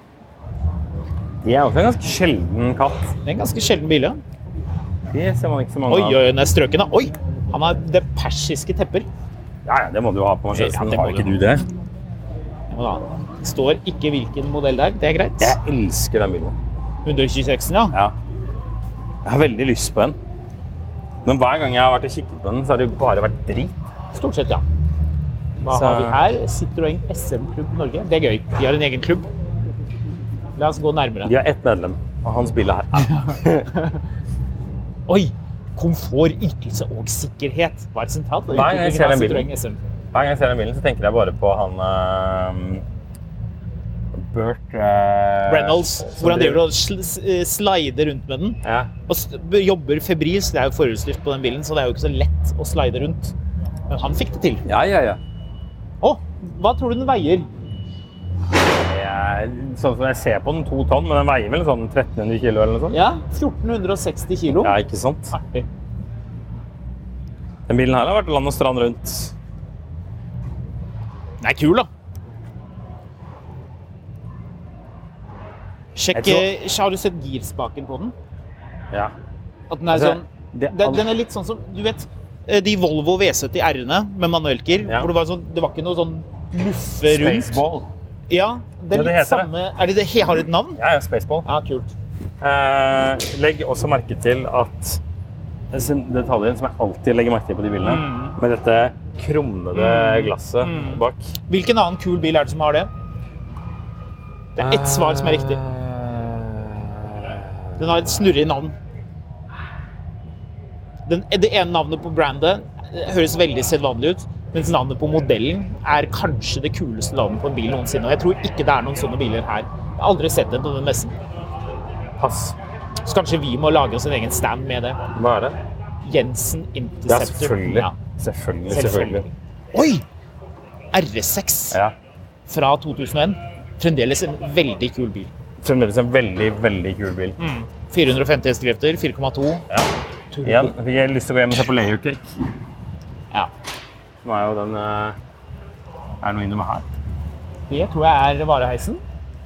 S4: de er også en ganske sjelden katt.
S3: Det er en ganske sjelden bil, ja.
S4: De ser man ikke så mange
S3: Oi,
S4: av.
S3: oi, den er strøken, da. Oi! Han har det persiske tepper.
S4: Ja, ja, det må du jo ha på
S3: Ja,
S4: Mercedesen.
S3: det må
S4: har
S3: du
S4: ikke
S3: ha.
S4: du det?
S3: Og da står ikke hvilken modell det er. Det er greit.
S4: Jeg elsker den bilen.
S3: 126, ja.
S4: Ja. Jeg har veldig lyst på den. Men hver gang jeg har vært og kikket på den, så har det jo bare vært drit.
S3: Stort sett, ja. Hva
S4: Så-
S3: har vi her? Citroën SM-klubb Norge. Det er gøy. De har en egen klubb. La oss gå nærmere.
S4: De har ett medlem, og han spiller her.
S3: Oi! Komfort, ytelse og sikkerhet var et sentralt. ved
S4: Nei, jeg
S3: utviklingen
S4: ser
S3: av
S4: den bilen.
S3: Citroën SM.
S4: Hver gang jeg ser den bilen, så tenker jeg bare på han eh, Burt eh,
S3: Reynolds,
S4: som
S3: hvor han driver og sl s- eh, slider rundt med den.
S4: Ja.
S3: Og s- b- jobber febrilsk. Det er jo forhjulsdrift på den bilen, så det er jo ikke så lett å slide rundt. Men han fikk det til.
S4: ja, ja, ja.
S3: Å, hva tror du den veier?
S4: Det er sånn som jeg ser på den, to tonn, men den veier vel sånn 1300 kilo eller noe sånt?
S3: Ja, 1460 kilo.
S4: Ja, ikke sant?
S3: Artig.
S4: Den bilen her har vært land og strand rundt.
S3: Den er kul, da. Sjekk,
S4: Jeg tror-
S3: eh, Har du sett girspaken på den?
S4: Ja.
S3: At den er
S4: Altså,
S3: sånn
S4: det-
S3: den, den er litt sånn som Du vet eh, de Volvo V70 R-ene med manuellgir?
S4: Ja.
S3: Hvor det var, sånn, det var ikke noe sånn luffe rundt.
S4: Spaceball.
S3: Ja, det er
S4: Ja, det
S3: litt
S4: heter det.
S3: samme Er det det he- Har det et navn?
S4: Ja, ja, spaceball.
S3: Ja, kult.
S4: Eh, legg også merke til at det er en detaljen som jeg alltid legger merke til på de bilene,
S3: Mm.
S4: med dette krummede glasset bak.
S3: Hvilken annen kul bil er det som har det? Det er ett svar som er riktig. Den har et snurrig navn. Den, det ene navnet på brandet eh, høres veldig sedvanlig ut, mens navnet på modellen er kanskje det kuleste navnet på en bil noensinne. Og jeg tror ikke det er noen sånne biler her. Jeg har aldri sett en på den messen.
S4: Eh, Pass.
S3: Så kanskje vi må lage oss en egen stand med det.
S4: Hva er det?
S3: Jensen
S4: Ja,
S3: Interceptor.
S4: selvfølgelig.
S3: Ja,
S4: Selvfølgelig, selvfølgelig.
S3: selvfølgelig. Oi! R6
S4: Ja.
S3: fra 2001. Fremdeles en veldig kul bil.
S4: Fremdeles en veldig, veldig kul bil.
S3: Mm. 450 hestekrefter, 4,2.
S4: Ja. Igjen, fikk jeg lyst til å gå hjem og se på Layer Cake.
S3: Ja.
S4: Nå er jo den eh, Er det noe innom her?
S3: Det tror jeg er vareheisen.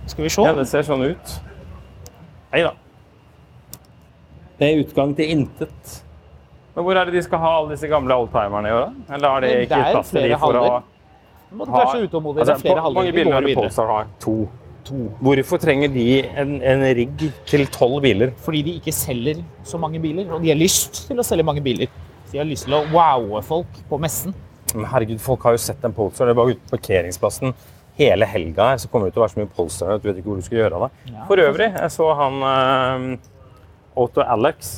S3: Skal vi se.
S4: Ja, det ser sånn ut. Nei da. Det er utgang til intet. Men hvor er det de skal ha alle disse gamle oldtimerne i år, da? Eller har de
S3: Men
S4: ikke
S3: det er
S4: plass til de
S3: flere
S4: for å ha
S3: haller. Du måtte være så utålmodig. Det er
S4: på-
S3: flere halvdeler.
S4: Altså, mange
S3: Vi
S4: biler
S3: går
S4: er det
S3: videre.
S4: Polestar har? To. Hvorfor trenger de en, en rigg til tolv biler?
S3: Fordi de ikke selger så mange biler, og de har lyst til å selge mange biler. De har lyst til å wowe folk på messen.
S4: Men herregud, folk har jo sett en Polestar. Det er bare ute på parkeringsplassen hele helga her, så kommer det til å være så mye Polestar at du vet ikke hvor du skal gjøre av deg.
S3: Ja.
S4: For øvrig, jeg så han eh, Otto Alex.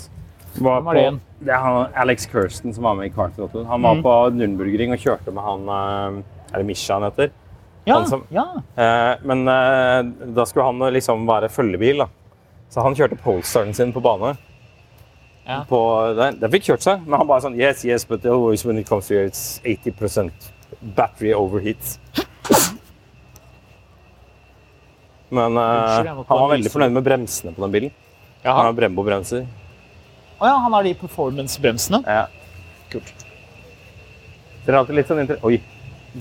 S4: Var
S3: Hvem var det igjen? Mm.
S4: det er han, Alex Kirsten som var med i Quarter Otto. Han var på Nürnbergring og kjørte med han eh, Er det Misha han heter?
S3: Ja,
S4: Han som-
S3: ja.
S4: Eh, men eh, da skulle han liksom være følgebil, da. Så han kjørte Polestaren sin på bane.
S3: Ja.
S4: På den. den fikk kjørt seg, men han bare sånn Yes, yes, but always when it comes to here, it's 80 battery overheat. Men eh,
S3: Unnskyld, jeg måtte
S4: han var
S3: bare
S4: veldig
S3: vise.
S4: fornøyd med bremsene på den bilen. Han har Brembo-bremser.
S3: Å ja, han har de performance-bremsene.
S4: Ja.
S3: Kult.
S4: Det er alltid litt sånn inter... Oi!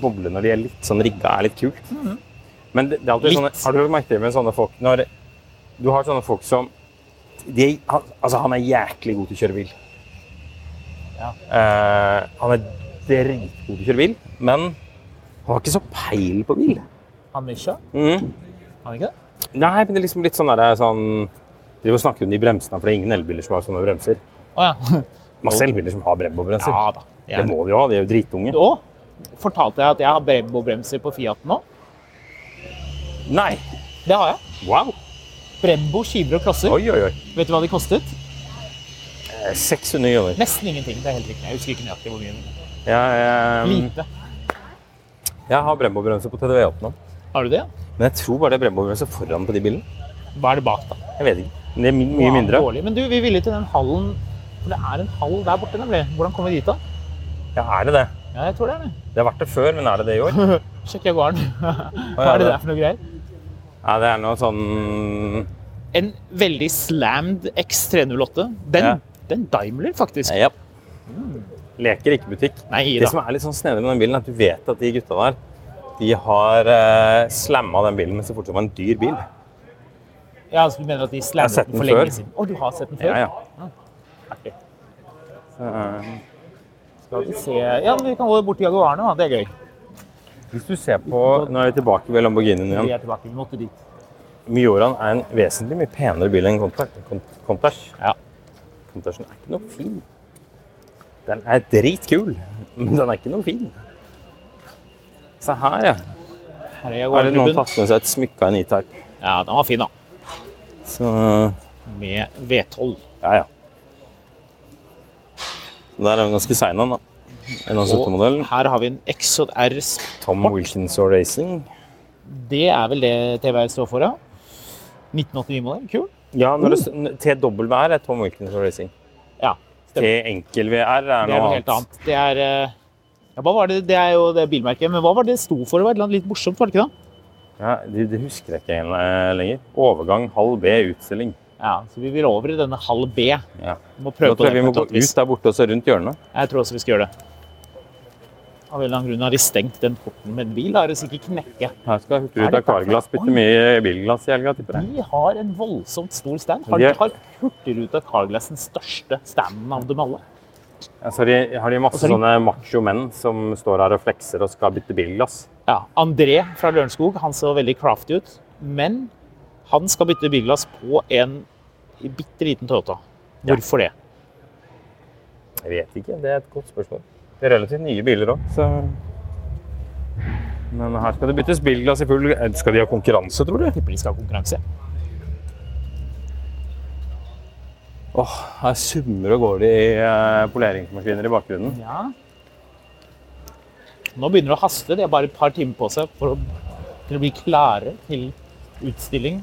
S4: Boble når de er litt sånn rigga, er litt kult. Men det, det er alltid
S3: Mhm. Litt.
S4: sånne Har du merket det med sånne folk når Du har sånne folk som de, han, Altså, han er jæklig god til å kjøre bil.
S3: Ja.
S4: Eh, han er dritgod til å kjøre bil, men han har ikke så peil på bil.
S3: Han Misha,
S4: Mhm.
S3: han ikke det?
S4: Nei, men det er liksom litt sånn derre sånn Driver og snakker om de bremsene, for det er ingen elbiler som har sånne bremser.
S3: Å ja.
S4: Masse elbiler som har Brembo-bremser.
S3: Ja da. Det
S4: Det
S3: er-
S4: må de jo ha, de er jo dritunge.
S3: Å, fortalte jeg at jeg har Brembo-bremser på Fiaten nå?
S4: Nei!
S3: Det har jeg.
S4: Wow!
S3: Brembo skiver og klosser.
S4: Oi, oi, oi.
S3: Vet du hva de kostet?
S4: Eh, 600 kroner.
S3: Nesten ingenting. Det er helt riktig. Jeg husker ikke nøyaktig hvor mye.
S4: Jeg, eh,
S3: Lite.
S4: jeg har Brembo-bremse på TDV8 nå.
S3: Har du det?
S4: Men jeg tror bare det er Brembo-bremse foran på de bilene.
S3: Hva er det bak, da?
S4: Jeg vet ikke. Men det er my mye
S3: Wow,
S4: mindre.
S3: Dårlig. Men du, vi ville til den hallen For det er en hall der borte, nemlig. Hvordan kommer vi dit, da?
S4: Ja, er det det?
S3: Ja, jeg tror det er det.
S4: Det har vært det før, men er det det i år?
S3: Sjekk Jaguaren. Hva
S4: ja,
S3: er det
S4: det.
S3: der for noe greier?
S4: Nei, det er noe sånn
S3: En veldig slammed X308. Den,
S4: Ja.
S3: den Daimler, faktisk.
S4: Ja. Leker ikke butikk.
S3: Nei
S4: Det
S3: da.
S4: som er litt sånn snedig med den bilen, er at du vet at de gutta der de har eh, slamma den bilen, men så fort som det var en dyr bil.
S3: Ja, så du mener at de
S4: Jeg har
S3: slammet
S4: sett
S3: den for
S4: den
S3: lenge
S4: før.
S3: siden? Å, du har sett den før?
S4: Ja, ja.
S3: Artig.
S4: Så, eh,
S3: Skal vi se Ja, men vi kan gå bort til Jaguarene, da. Det er gøy.
S4: Hvis du ser på Nå er vi tilbake ved Lamborghinien
S3: Vi
S4: igjen.
S3: er tilbake. Vi måtte dit.
S4: Mioraen er en vesentlig mye penere bil enn Contact. Cont- Countach.
S3: Ja.
S4: Contacten er ikke noe fin. Den er dritkul, men den er ikke noe fin. Se her, ja.
S3: Her er
S4: Har det noen
S3: Jaguarklubben.
S4: tatt med seg et smykke av en E-Type?
S3: Ja, den var fin, da.
S4: Så
S3: Med V12.
S4: ja, ja. Der er hun ganske sein, han, da. En av 70-modell.
S3: Og her har vi en XJR Sport.
S4: Tom Wilkinson Racing.
S3: Det er vel det TVR står for, ja? 1989-modell. Kul.
S4: Ja, når det, s- n- TW er Tom Wilkinson Racing.
S3: Ja.
S4: T enkel VR er
S3: Det er
S4: noe
S3: noe helt annet. Det er eh, ja, hva var det, det er jo det bilmerket, men hva var det det sto for? Det var et eller annet litt morsomt, var det ikke det?
S4: Ja, det, det husker jeg ikke igjen, eh, lenger. Overgang halv B utstilling.
S3: Ja, så vi vil over i denne halv B.
S4: Ja.
S3: Vi må
S4: Nå
S3: prøve på
S4: tror
S3: det.
S4: jeg vi må
S3: på
S4: gå
S3: et eller annet vis.
S4: ut der borte og så rundt hjørnet.
S3: Jeg tror også vi skal gjøre det. Av en eller annen grunn har de stengt den porten med en bil. Da er det sikkert knekke.
S4: Her skal
S3: Er
S4: Hurtigruten
S3: det
S4: Akvarglass
S3: derfor?
S4: bytte mye bilglass i helga, tipper jeg.
S3: De har en voldsomt stor stand. Har,
S4: De er-
S3: har Hurtigruta Carglass den største standen av dem alle?
S4: Ja, så har de, har de masse
S3: Og så er de-
S4: sånne macho menn som står her og flekser og skal bytte bilglass.
S3: Ja, André fra Lørenskog, han så veldig crafty ut. Men han skal bytte bilglass på en bitte liten Toyota. Hvorfor det?
S4: Jeg vet ikke, det er et godt spørsmål. Det er relativt nye biler òg, så Men her skal det byttes bilglass i full Eh, Skal de ha konkurranse, tror du?
S3: Tipper de skal ha konkurranse.
S4: Åh, her summer og går det i eh, poleringsmaskiner i bakgrunnen.
S3: Ja. Nå begynner det å haste. De har bare et par timer på seg for å kunne bli klare til utstilling.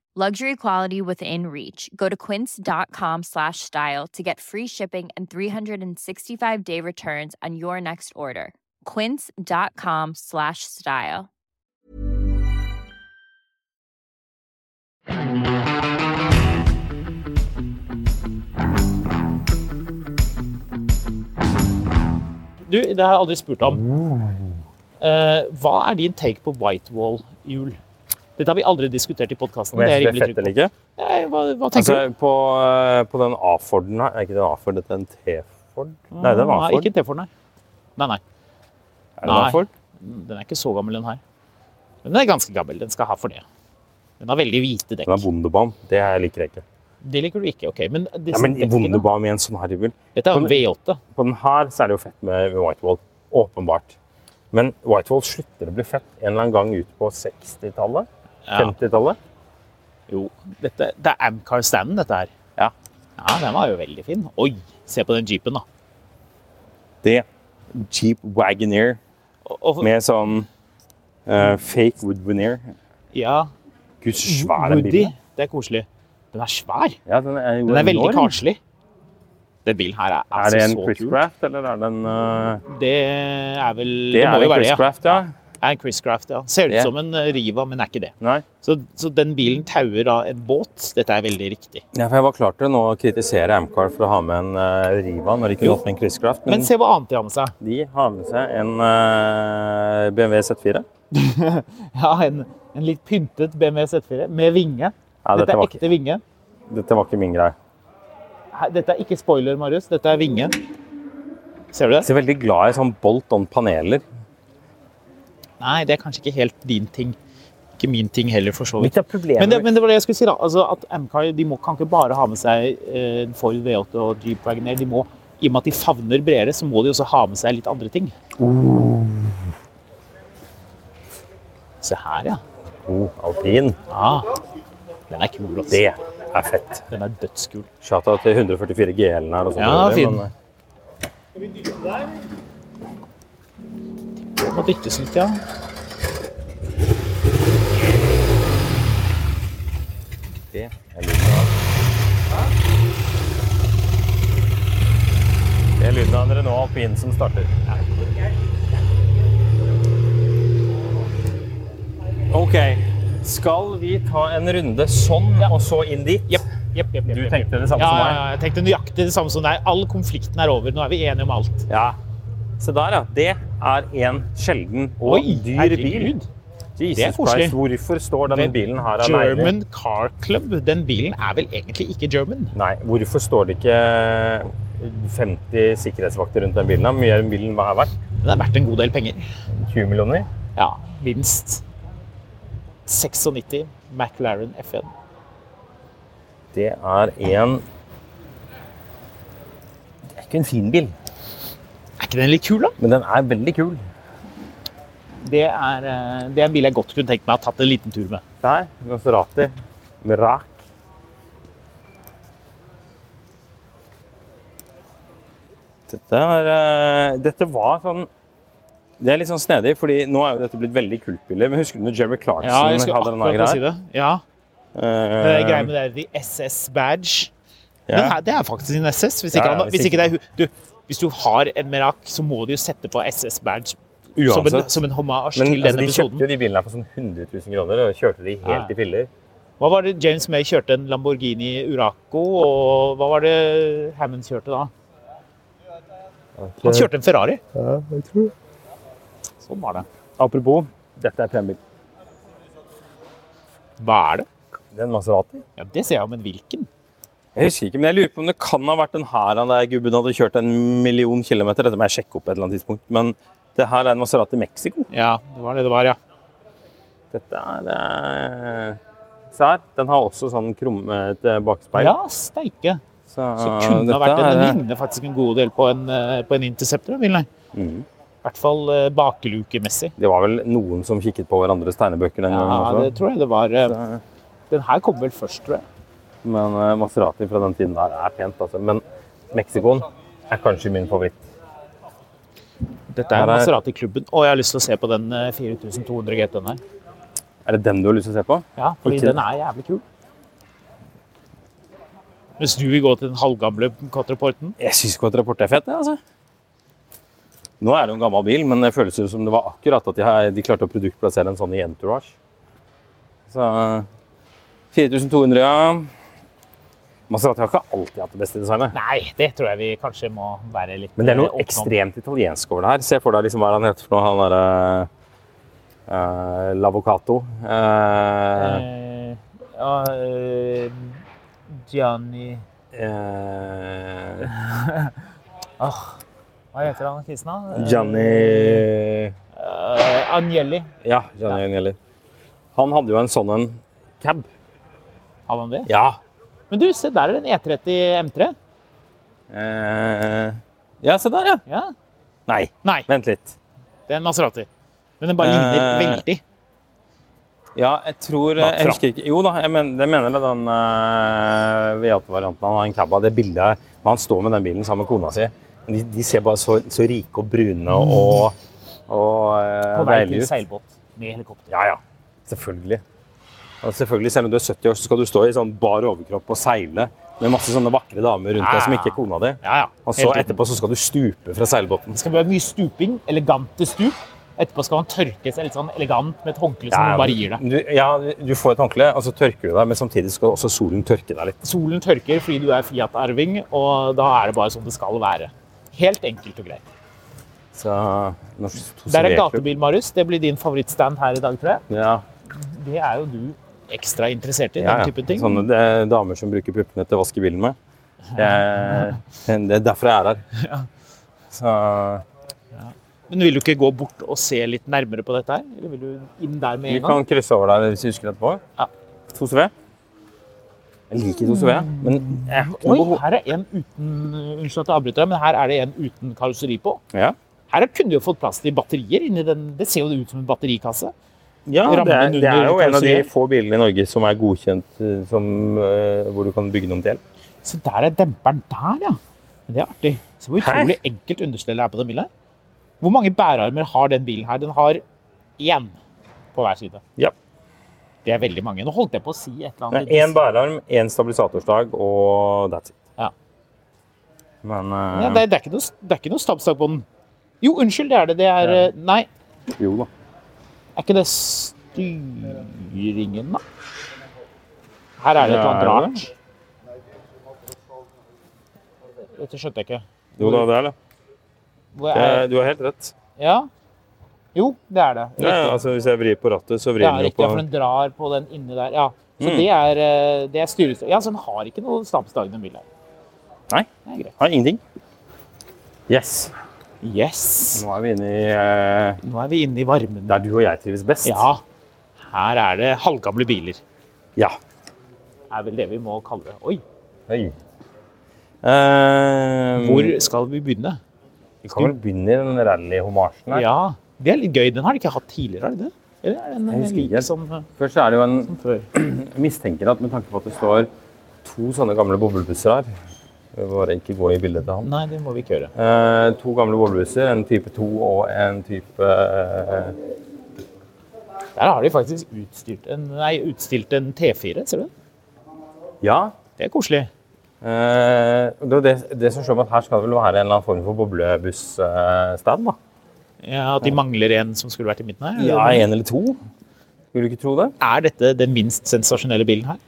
S1: Luxury quality within reach. Go to quince.com slash style to get free shipping and 365 day returns on your next order. Quince.com slash style.
S3: Du, det har jeg aldri spurt om.
S4: Oh.
S3: Eh, hva er din take på Whitewall-hjul? Dette har vi aldri diskutert i podkasten.
S4: Og jeg synes det er fett eller ikke?
S3: Hva, hva tenker
S4: Altså, på, eh, på den A-Forden her Er ikke den A-Ford, dette er en T-Ford?
S3: du?
S4: Nei, det er en A-Ford.
S3: Ikke T-Ford, Mm, nei. Nei, nei.
S4: Er det en
S3: Nei.
S4: A-Ford?
S3: Den er ikke så gammel, den her. Men den er ganske gammel. Den skal ha for det. Den har veldig hvite
S4: Den er
S3: dekk.
S4: Wunderbaum. Det her liker jeg ikke.
S3: Det liker du ikke, OK. Men, disse
S4: Ja, men
S3: dekkene-
S4: Wunderbaum i en sånn her bil.
S3: Dette er jo en V8.
S4: På den her så er det jo fett med Whitewall. Åpenbart. Men Whitewall slutter å bli fett en eller annen gang ut på 60-tallet?
S3: Ja.
S4: 50-tallet?
S3: Jo, dette, det er Amcar-standen, dette her.
S4: Ja.
S3: Ja, den var jo veldig fin. Oi, se på den jeepen, da.
S4: Det. Jeep Wagoneer
S3: Og, og,
S4: med sånn eh, fake Wood Wagoneer.
S3: ja,
S4: Gud, så svær den
S3: Woody.
S4: bilen er.
S3: Det er koselig. Den er svær.
S4: Ja, den er, jo
S3: Den er veldig
S4: enorm.
S3: karslig. Den bilen her er,
S4: Er
S3: altså
S4: det en
S3: så
S4: Chris
S3: kul.
S4: Craft, eller er det en eh,
S3: Det er vel Det,
S4: Det
S3: må
S4: er
S3: jo
S4: en
S3: være det,
S4: Chris
S3: ja.
S4: Craft, ja.
S3: Er en Chris Craft, ja. Ser ut
S4: Det-
S3: som en eh, Riva, men er ikke det.
S4: Nei.
S3: Så, så den bilen tauer da en båt. Dette er veldig riktig.
S4: Ja, for jeg var klar til nå å kritisere Amcar for å ha med en eh, Riva når de kunne
S3: Jo.
S4: hatt med en Chris Craft, men,
S3: Men se hva annet de har med seg.
S4: de har med seg en eh, BMW Z4.
S3: Ja, en, en litt pyntet BMW Z4 med vinge.
S4: Ja,
S3: Dette
S4: dette,
S3: er
S4: var ikke,
S3: ekte vinge.
S4: dette var ikke min greie.
S3: Her- Dette er ikke spoiler, Marius. Dette er vinge. Ser du det?
S4: Jeg er veldig glad i sånn bolt on paneler.
S3: Nei, det er kanskje ikke helt din ting. Ikke min ting heller, for så vidt.
S4: Litt av problemet
S3: Men det, men det var det jeg skulle si, da. Altså, at Amcar de må, kan ikke bare ha med seg eh, en Ford V8 og Jeep Wagoner. De må, I og med at de favner bredere, så må de også ha med seg litt andre ting. Se her, ja.
S4: oh, alpin,
S3: Ah, den er kul. Også.
S4: Oh, det er fett.
S3: Den er dødskul.
S4: Shata til 144 GL-en her. Og sånt,
S3: Ja, fin.
S4: men, eh,
S3: Må dyttes litt, ja.
S4: det er lyden av Det er lyden av en Renault Alpine som starter. Ok, skal vi ta en runde sånn og så inn dit?
S3: Jepp. Jepp, jepp, jepp,
S4: Du
S3: jepp.
S4: tenkte det samme
S3: ja,
S4: som meg?
S3: Ja, ja, jeg tenkte nøyaktig det samme som deg. All konflikten er over. Nå er vi enige om alt.
S4: Ja. Se der, ja. Det er en sjelden og dyr bil.
S3: herregud.
S4: Jesus
S3: Det er koselig.
S4: Christ, hvorfor står denne
S3: Men
S4: bilen her alene?
S3: German Car Club. Den bilen er vel egentlig ikke German?
S4: Nei, hvorfor står det ikke 50 sikkerhetsvakter rundt den bilen? da? Hvor mye er den bilen her verdt?
S3: Den er verdt en god del penger.
S4: 20 millioner?
S3: Ja, minst. 96 McLaren F1.
S4: Det er en Det er ikke en fin bil,
S3: Er ikke den litt kul, da?
S4: men den er veldig kul.
S3: Det er, eh, det er en bil jeg godt kunne tenkt meg å ha tatt en liten tur med.
S4: Der, Maserati. Mrak. Dette, er, eh, dette var sånn Det er litt sånn snedig, fordi nå er jo dette blitt veldig kultbillig. Men husker du når Jeremy Clarkson hadde denne greia?
S3: det. Ja,
S4: Eh,
S3: det er greia med det der, the SS-badge.
S4: ja.
S3: Den her, det er faktisk en SS. Hvis ikke,
S4: Ja, ja,
S3: han,
S4: hvis
S3: hvis
S4: ikke-
S3: ikke det er hu- du, hvis du har en Merak, så må du jo sette på SS-badge som, en-
S4: Uansett.
S3: som en hommage
S4: Men
S3: til
S4: altså,
S3: denne
S4: de kjøpte
S3: episoden.
S4: jo de bilene her for sånn 100 000 kroner og kjørte de
S3: Ja.
S4: helt i filler.
S3: Hva var det James May kjørte en Lamborghini Uraco, og hva var det Hammond kjørte da? Han kjørte en Ferrari. Sånn var det.
S4: Apropos, dette er premie.
S3: Hva er det?
S4: Det er en Maserati.
S3: Ja, det ser jeg, men hvilken?
S4: Jeg husker ikke, men jeg lurer på om det kan ha vært den her han der gubben hadde kjørt en million kilometer. Dette må jeg sjekke opp på et eller annet tidspunkt. Men det her er en Maserati Mexico.
S3: Ja, det var det det var, ja.
S4: Dette er eh, Se her. Den har også sånn krummet eh, bakspeil.
S3: Ja, steike. Så kunne det ha
S4: Ah, dette
S3: vært en.
S4: er- eh,
S3: Den ligner faktisk en god del på en, eh, på en Interceptor, den bilen her.
S4: Mhm.
S3: I hvert fall eh, bakelukemessig.
S4: Det var vel noen som kikket på hverandres tegnebøker den gangen
S3: Ja,
S4: også.
S3: det tror jeg det var. eh,
S4: Så-
S3: Den her kom vel først, tror jeg.
S4: Men eh, Maserati fra den tiden der er pent, altså. Men Mexicoen er kanskje min favoritt.
S3: Dette er
S4: Her er-
S3: Maserati-klubben. Og jeg har lyst til å se på den eh, 4200 GT-en her.
S4: Er det den du har lyst til å se på?
S3: Ja, fordi
S4: Ikke-
S3: den er jævlig kul. Hvis du vil gå til den halvgamle Cotterporten
S4: Jeg syns ikke at rapport er fett, jeg, altså. Nå er det jo en gammel bil, men det føles jo som det var akkurat at de, her, de klarte å produktplassere en sånn i Entourage. Så eh, 4200, ja. Maserati har ikke alltid hatt det beste designet.
S3: Nei, det tror jeg vi kanskje må være litt
S4: Men det er
S3: eh,
S4: noe
S3: åpne om.
S4: ekstremt italiensk over det her. Se for deg liksom hva er han heter for noe, han derre eh, L'Avocato. Eh,
S3: Eh, ja, eh, Gianni
S4: eh,
S3: Hva heter han kristne?
S4: Gianni
S3: Eh, Agnelli.
S4: Ja, Gianni Agnelli. Han hadde jo en sånn en cab.
S3: Hadde han det?
S4: Ja.
S3: Men du, se der er det en E30 M3.
S4: Eh, ja, se der, ja.
S3: Ja.
S4: Nei,
S3: Nei,
S4: vent litt.
S3: det er en Maserati. Men den bare ligner
S4: Eh,
S3: veldig.
S4: Ja, jeg tror eh,
S3: Bakfra.
S4: Jeg husker ikke Jo da, jeg mener, jeg mener det den uh, V8-varianten han har en cab av. Det bildet her. men Han står med den bilen sammen med kona si. De, de ser bare så, så rike og brune og, og eh,
S3: På vei til
S4: deilige ut.
S3: seilbåt med helikopter.
S4: Ja, ja. Selvfølgelig. Og selvfølgelig, Selv om du er 70 år, så skal du stå i sånn bar overkropp og seile med masse sånne vakre damer rundt
S3: Ja,
S4: deg som
S3: ja.
S4: ikke er kona di.
S3: Ja, ja.
S4: Og så
S3: Helt riktig.
S4: etterpå så skal du stupe fra seilbåten.
S3: Det skal være mye stuping, elegante stup. Etterpå skal man tørke seg litt sånn elegant med et håndkle som man bare gir deg.
S4: du, ja, du får et håndkle, og så tørker du deg, men samtidig skal også solen tørke deg litt.
S3: Solen tørker fordi du er Fiat-arving, og da er det bare sånn det skal være. Helt enkelt og greit.
S4: Så,
S3: Der
S4: norsk
S3: er
S4: Tosiveklubb.
S3: gatebil, Marius. Det blir din favorittstand her i dag, tror jeg.
S4: Ja,
S3: Det er jo du ekstra interessert i,
S4: ja,
S3: den type
S4: ja.
S3: ting.
S4: Sånne eh, damer som bruker puppene til å vaske bilen med. Jeg, det er derfor jeg er her. Så,
S3: Men vil du ikke gå bort og se litt nærmere på dette her? Eller vil du inn der med
S4: vi
S3: en gang?
S4: kan krysse over der hvis vi husker etterpå.
S3: Ja.
S4: 2CV. Jeg liker 2CV,
S3: Mm.
S4: men jeg har ikke
S3: Oi,
S4: noe behov.
S3: her er en uten Unnskyld at jeg avbryter deg, men her er det en uten karosseri på.
S4: Ja.
S3: Her kunne du jo fått plass til batterier inni den. Det ser jo ut som en batterikasse.
S4: Ja, det er,
S3: Rammen
S4: det er
S3: under
S4: jo en av de
S3: karosseriet.
S4: få bilene i Norge som er godkjent eh, som, eh, hvor du kan bygge den om til el.
S3: Se der er demperen der, ja. Men Det er artig. Se hvor utrolig enkelt understell det er på den bilen her. Hvor mange bærearmer har den bilen her? Den har én på hver side.
S4: Ja.
S3: Det er veldig mange. Nå holdt jeg på å si et eller
S4: Det
S3: annet.
S4: er én bærearm, én stabilisatorsdag og that's it.
S3: Ja.
S4: Men
S3: Nei,
S4: eh,
S3: det, er- det er ikke noe, det er ikke noe stabstak på den. Jo, unnskyld, det er det. Det er
S4: Ja.
S3: eh, Nei,
S4: Jo da.
S3: er ikke det styringen, da? Her er det et eller annet
S4: Ja, er
S3: rart. Dette skjønte jeg ikke.
S4: Jo da, det er det.
S3: Hvor
S4: det
S3: er,
S4: er, du har helt rett.
S3: ja? Jo, det er det.
S4: Eh, Ja,
S3: Riktig.
S4: ja, altså, hvis jeg vrir på rattet, så vrir
S3: Ja,
S4: den jo
S3: riktig, ja, for
S4: på
S3: den drar på den inni der. Ja. Så
S4: Mm.
S3: det er, eh, det er styrestrøm. Ja, så den har ikke noe stabsdag, den bilen. her.
S4: Nei.
S3: Det er greit.
S4: Har ingenting. Yes.
S3: Yes!
S4: Nå er vi inne i eh,
S3: Nå er vi inne i varmen.
S4: der du og jeg trives best.
S3: Ja, her er det halvgamle biler.
S4: Ja.
S3: Er vel det vi må kalle det. Oi,
S4: Oi. Eh,
S3: hvor skal vi begynne?
S4: Vi kan vel begynne i den rally-homasjen her.
S3: Ja, det er litt gøy. Den har de ikke hatt tidligere, har de det? Eller er den
S4: Jeg husker ikke.
S3: like som eh,
S4: Først så er det jo en
S3: før?
S4: Jeg mistenker at med tanke på at det står to sånne gamle boblebusser her Vi må bare ikke gå i bildet til han.
S3: Nei, det må vi ikke gjøre.
S4: Eh, to gamle boblebusser, en type 2 og en type eh,
S3: Der har de faktisk utstyrt en, nei, utstilt en T4, ser du? det?
S4: Ja.
S3: Det er koselig.
S4: Eh, det, er det, det som slår meg at her skal det vel være en eller annen form for boblebuss-stand, da.
S3: Ja, at de mangler en som skulle vært i midten her. eller?
S4: Ja, en eller to. Skulle du ikke tro det?
S3: Er dette den minst sensasjonelle bilen her?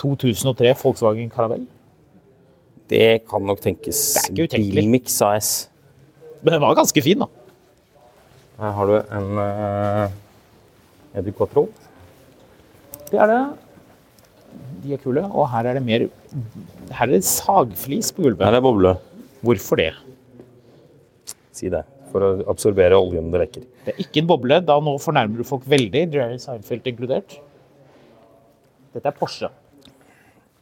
S3: 2003 Volkswagen Caravelle.
S4: Det kan nok tenkes.
S3: Det er ikke utenkelig.
S4: Bilmix AS.
S3: Men den var ganske fin, da.
S4: Her har du en uh, Educotro.
S3: Det er det. De er kule. Og her er det mer Her er det sagflis på gulvet.
S4: Her er boble.
S3: Hvorfor det?
S4: Si det. For å absorbere oljen det lekker.
S3: Det er ikke en boble. Da nå fornærmer du folk veldig, Jerry Seinfeld inkludert. Dette er Porsche.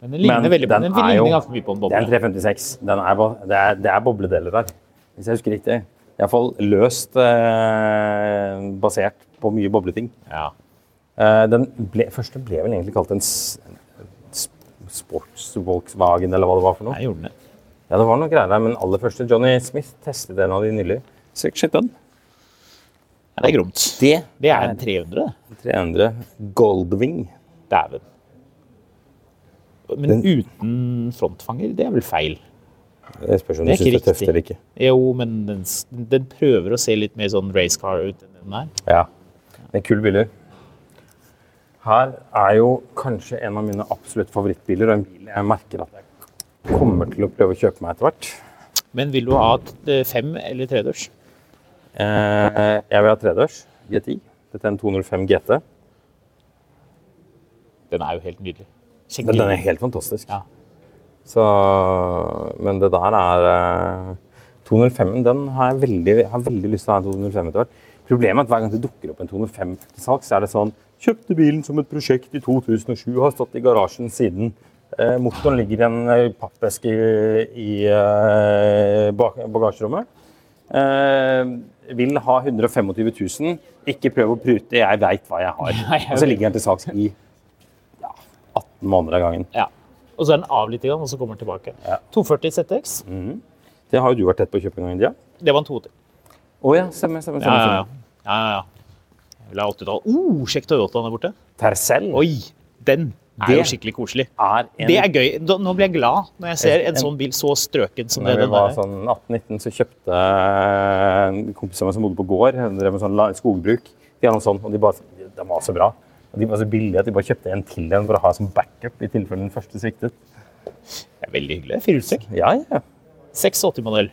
S3: Men den ligner,
S4: Men
S3: veldig,
S4: den
S3: den
S4: er
S3: ligner
S4: jo-
S3: ganske mye på en
S4: Det er en
S3: boble.
S4: 356. Den er, ba- det, er, det er bobledeler der, hvis jeg husker riktig. Iallfall løst eh, basert på mye bobleting.
S3: Ja.
S4: Eh, den ble, første ble vel egentlig kalt en s- s- sports-Volkswagen, eller hva det var for noe.
S3: Jeg gjorde den det.
S4: Ja, det var noen greier der, men aller første Johnny Smith testet en av de nylig. Sjekk sjekk den.
S3: Ja, det er gromt.
S4: Det
S3: Det er en 300. det.
S4: 300 Goldwing.
S3: Dæven. Men uten frontfanger, det er vel feil?
S4: Det spørs om
S3: Det er
S4: du syns det
S3: ikke
S4: er tøft
S3: riktig.
S4: eller ikke.
S3: Jo, men den, s- den prøver å se litt mer sånn racecar ut enn den er.
S4: Ja. Det er kule biler. Her er jo kanskje en av mine absolutt favorittbiler, og en bil jeg merker at jeg kommer til å prøve å kjøpe meg etter hvert.
S3: Men vil du ha et eh, fem- eller tredørs?
S4: Eh, jeg vil ha tredørs GTI. Dette er en 205 GT.
S3: Den er jo helt nydelig.
S4: Den,
S3: Skikkelig.
S4: den er helt fantastisk.
S3: Ja.
S4: Så, men det der er eh, 205-en den har jeg veldig, jeg har veldig lyst til å ha en 205 etter hvert. Problemet er at hver gang det dukker opp en 205 til salg, så er det sånn Kjøpte bilen som et prosjekt i 2007, har stått i garasjen siden. Eh, motoren ligger i en eh, pappeske i, i eh, bak, bagasjerommet. Eh, vil ha 125 000. Ikke prøv å prute, jeg veit hva jeg har.
S3: Nei, jeg
S4: Og så
S3: vet.
S4: ligger den til salgs i ja, 18 måneder av gangen.
S3: Ja. Og så er den av litt, igjen, og så kommer den tilbake. 240 ZX.
S4: Det har jo du vært tett på å kjøpe en gang i tida.
S3: Det var en 280.
S4: Å ja, stemmer.
S3: Ja,
S4: stemmer, stemmer,
S3: ja, ja. ja,
S4: stemmer.
S3: ja, ja. Jeg vil ha 80-tall. Oh, sjekk Toyotaen der borte.
S4: Tercel
S3: Oi! Den er
S4: Det-
S3: jo skikkelig koselig.
S4: er en
S3: Det er gøy. Da- Nå blir jeg glad når jeg ser en
S4: En-
S3: sånn bil så strøken som det
S4: Når vi
S3: den
S4: var
S3: er.
S4: sånn 18-19, så kjøpte eh, en kompis av meg som bodde på gård, han drev med sånn la- skogbruk, de hadde en sånn, og de bare Den var så bra. Og de var så billige at de bare kjøpte en til en for å ha som backup i tilfelle den første sviktet.
S3: Det er veldig hyggelig. Firehjulstrekk.
S4: Ja, ja.
S3: 680-modell.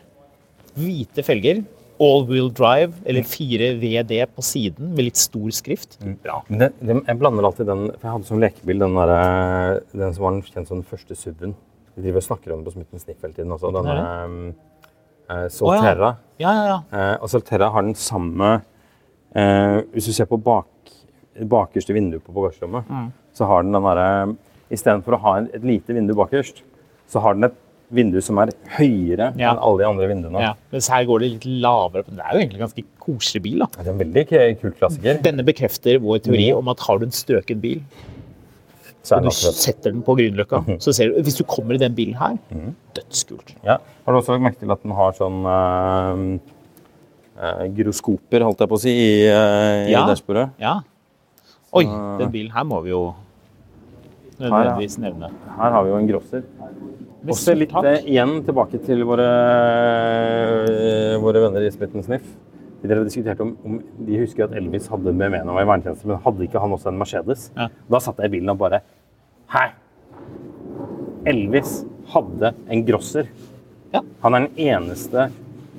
S3: Hvite felger. All-wheel drive, eller 4VD på siden, med litt stor skrift. Bra.
S4: Men den, den, jeg blander alltid den For jeg hadde som lekebil den, der, eh, den som var den kjent som den første SUV-en. Vi driver og snakker om den på Smitten Sniff hele tiden også. Den
S3: er
S4: eh, eh,
S3: Å, ja.
S4: Solterra.
S3: Ja, ja, ja.
S4: Eh, og Salterra har den samme eh, Hvis du ser på bak, bakerste vinduet på
S3: Mm.
S4: bagasjerommet, så har den den derre Istedenfor å ha en, et lite vindu bakerst, så har den et vinduer som er høyere
S3: Ja.
S4: enn alle de andre vinduene.
S3: Ja, mens her går det litt lavere. men Det er jo egentlig en ganske koselig bil. da.
S4: Det er en veldig k- kul klassiker.
S3: Denne bekrefter vår teori
S4: Mm.
S3: om at har du en strøken bil,
S4: Så
S3: og
S4: er Mhm. den
S3: du
S4: absolutt-
S3: setter den på Grünerløkka, så ser du Hvis du kommer i den bilen her,
S4: Mhm.
S3: dødskult.
S4: Ja. Har du også lagt merke til at den har sånn eh, eh, gyroskoper, holdt jeg på å si, i, eh,
S3: Ja.
S4: i dashbordet?
S3: Ja. Oi,
S4: Ah.
S3: den bilen her må vi jo nødvendigvis nevne.
S4: Her har vi jo en grosser.
S3: Med
S4: Også litt
S3: takk.
S4: eh, igjen tilbake til våre, eh, våre venner i Splitten Sniff. De drev og diskuterte om, om de husker at Elvis hadde med meg når han var i vernetjeneste, men hadde ikke han også en Mercedes?
S3: Ja.
S4: Da satt jeg i bilen og bare Hæ? Elvis hadde en grosser.
S3: Ja.
S4: Han er den eneste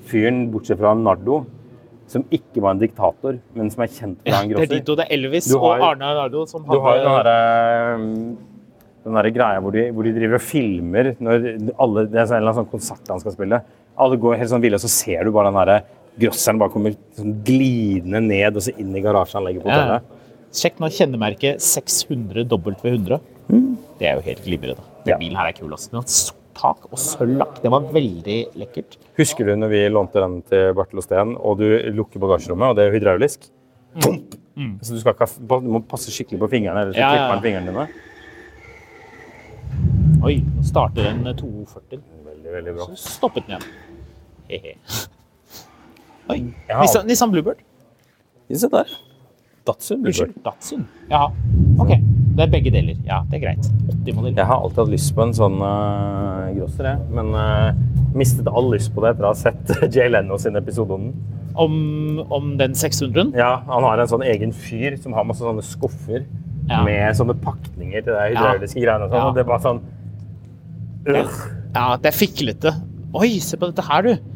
S4: fyren, bortsett fra Nardo, som ikke var en diktator, men som er kjent for å
S3: Ja,
S4: ha en
S3: det er
S4: grosser.
S3: de to. Det er Elvis
S4: Du har-
S3: og Arne Arnardo som
S4: Du har jo den
S3: hadde
S4: derre mm, den der greia hvor de, hvor de driver og filmer når alle, Det er sånn- en eller annen sånn konsert han skal spille. Alle går helt sånn ville, og så ser du bare den derre grosseren bare kommer sånn glidende ned og så inn i garasjeanlegget på
S3: Ja.
S4: hotellet.
S3: Sjekk nå kjennemerket 600 W100. Det er jo helt glimrende. Den
S4: Mhm. Ja.
S3: bilen her er kul. Altså. Den har sort tak og sølv lakk. Den var veldig lekkert.
S4: Husker du når vi lånte den til Bertil og Steen, og du lukker bagasjerommet, og det er jo hydraulisk?
S3: Mm.
S4: Så du, skal ikke, ha- du må passe skikkelig på fingrene, ellers så
S3: Ja, ja, ja.
S4: klipper den fingrene dine.
S3: Oi, nå starter den 240.
S4: Veldig, veldig bra.
S3: Så stoppet den igjen. Hehe. Oi.
S4: Ja.
S3: Nissan, Nissan Bluebird.
S4: Se der. Datsun.
S3: Unnskyld. Datsun. Jaha. OK. Det er begge deler. Ja, det er greit. 80-modell.
S4: Jeg har alltid hatt lyst på en sånn uh, grosser, jeg. Men eh, mistet all lyst på det etter å ha sett Jay Leno sin episode om den.
S3: Om, om den 600-en?
S4: Ja, han har en sånn egen fyr som har masse sånne skuffer
S3: Ja.
S4: med sånne pakninger til de hydrauliske greiene og sånn.
S3: Ja.
S4: Og det er bare sånn øh.
S3: Ja, det er fiklete. Oi, se på dette her, du.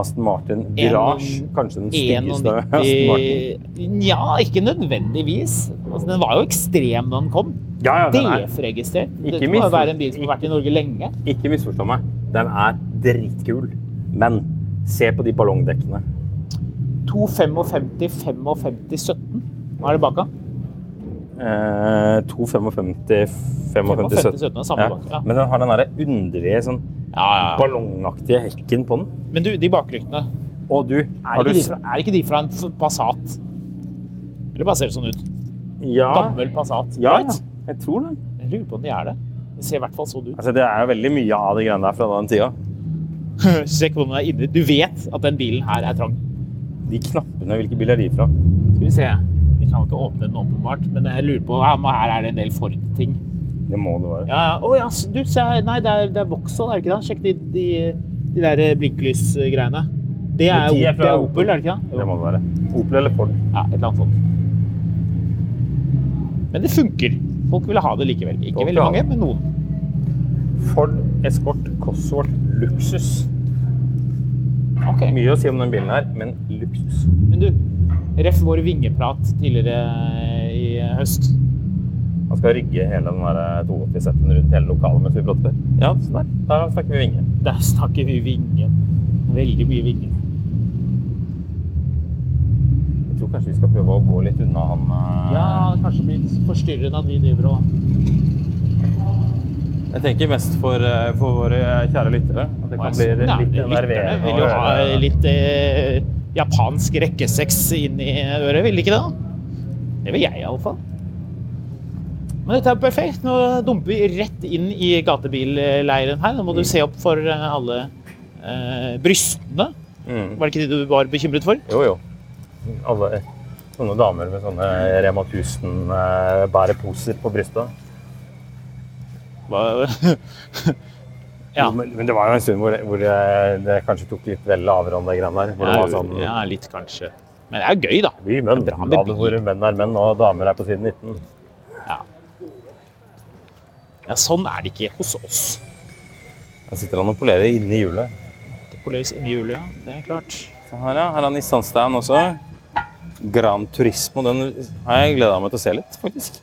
S4: Aston Martin
S3: En-
S4: Virage. Kanskje den styggeste Aston Martin.
S3: 91 Nja, ikke nødvendigvis. Altså, den var jo ekstrem da den kom.
S4: Ja, ja, den er,
S3: DF-registrert. Dette må jo
S4: minst-
S3: være en bil som har vært i Norge lenge.
S4: ikke misforstå meg, den er dritkul. Men se på de ballongdekkene.
S3: 255, 55, 17. Hva er det bak av?
S4: Eh, 255 55,
S3: 55, 17 er samme
S4: Ja.
S3: bak, ja.
S4: Men den har den der underlige sånn
S3: Ja, ja.
S4: ballongaktige hekken på den.
S3: Men du, de baklyktene.
S4: Og du,
S3: Er,
S4: har du
S3: ikke de fra, er ikke de fra en f- Passat? Eller bare ser det sånn ut?
S4: ja,
S3: Gammel Passat.
S4: ja, ja,
S3: right?
S4: jeg tror det.
S3: Jeg lurer på om de er det. Det ser i hvert fall sånn ut.
S4: Altså, det er jo veldig mye av de greiene der fra den tida.
S3: Sjekk hvordan den er inni. Du vet at den bilen her er trang.
S4: De knappene, hvilke biler er de fra?
S3: Skal vi se. Vi kan jo ikke åpne den åpenbart, men jeg lurer på ja, men Her er det en del Ford-ting.
S4: Det må det være.
S3: Ja, ja. Å ja, s- du, se her. Nei, det er, det er Vauxhall, er det ikke det? Sjekk de, de, de der blinklysgreiene. Det er,
S4: Men de
S3: Opel-
S4: er
S3: det
S4: fra
S3: er Opel, er det ikke det?
S4: Det må det være. Opel eller Ford?
S3: Ja, et eller annet sånt. Men det funker. Folk ville ha det likevel. Ikke
S4: Folk
S3: veldig
S4: vil ha
S3: mange,
S4: det.
S3: men noen.
S4: Ford Escort Cosworth luksus.
S3: Ok.
S4: Mye å si om den bilen her, men luksus.
S3: Men du, ref vår vingeprat tidligere eh, i høst.
S4: Han skal rigge hele den der 280-setten rundt hele lokalet mens vi prater. Ja, sånn der. Der snakker vi vinger.
S3: Der snakker vi vinge. Veldig mye vinge.
S4: Jeg tror kanskje vi skal prøve å gå litt unna han eh,
S3: Ja, kanskje blir litt forstyrrende at vi driver og
S4: Jeg tenker mest for, eh, for våre kjære lyttere. At det kan bli litt
S3: Nei, Lytterne
S4: enerverende.
S3: vil jo
S4: å
S3: ha
S4: høre.
S3: litt eh, japansk rekkesex inn i øret, vil de ikke det? Det vil jeg iallfall. Men dette er perfekt. Nå dumper vi rett inn i gatebilleiren her. Nå må
S4: Mm.
S3: du se opp for eh, alle eh, brystene.
S4: Mm.
S3: Var det ikke det du var bekymret for?
S4: Jo, jo. Alle sånne damer med sånne Rema 1000-bæreposer på brystet.
S3: Hva- Ja.
S4: Men, men det var jo en stund hvor, det, hvor det, det kanskje tok litt vel av hverandre, de greiene der. Hvor det
S3: Ja,
S4: var sånn
S3: ja, litt kanskje. Men det er jo gøy, da.
S4: Vi menn,
S3: bra med
S4: ja, det- hvor menn er menn, og damer er på siden 19.
S3: Ja. ja, sånn er det ikke hos oss.
S4: Her sitter han og polerer inni hjulet.
S3: Det poleres inn i hjulet, ja. Det er klart.
S4: Se Her, ja. Her er Nissan Stan også. Gran Turismo. Den har jeg gleda meg til å se litt, faktisk.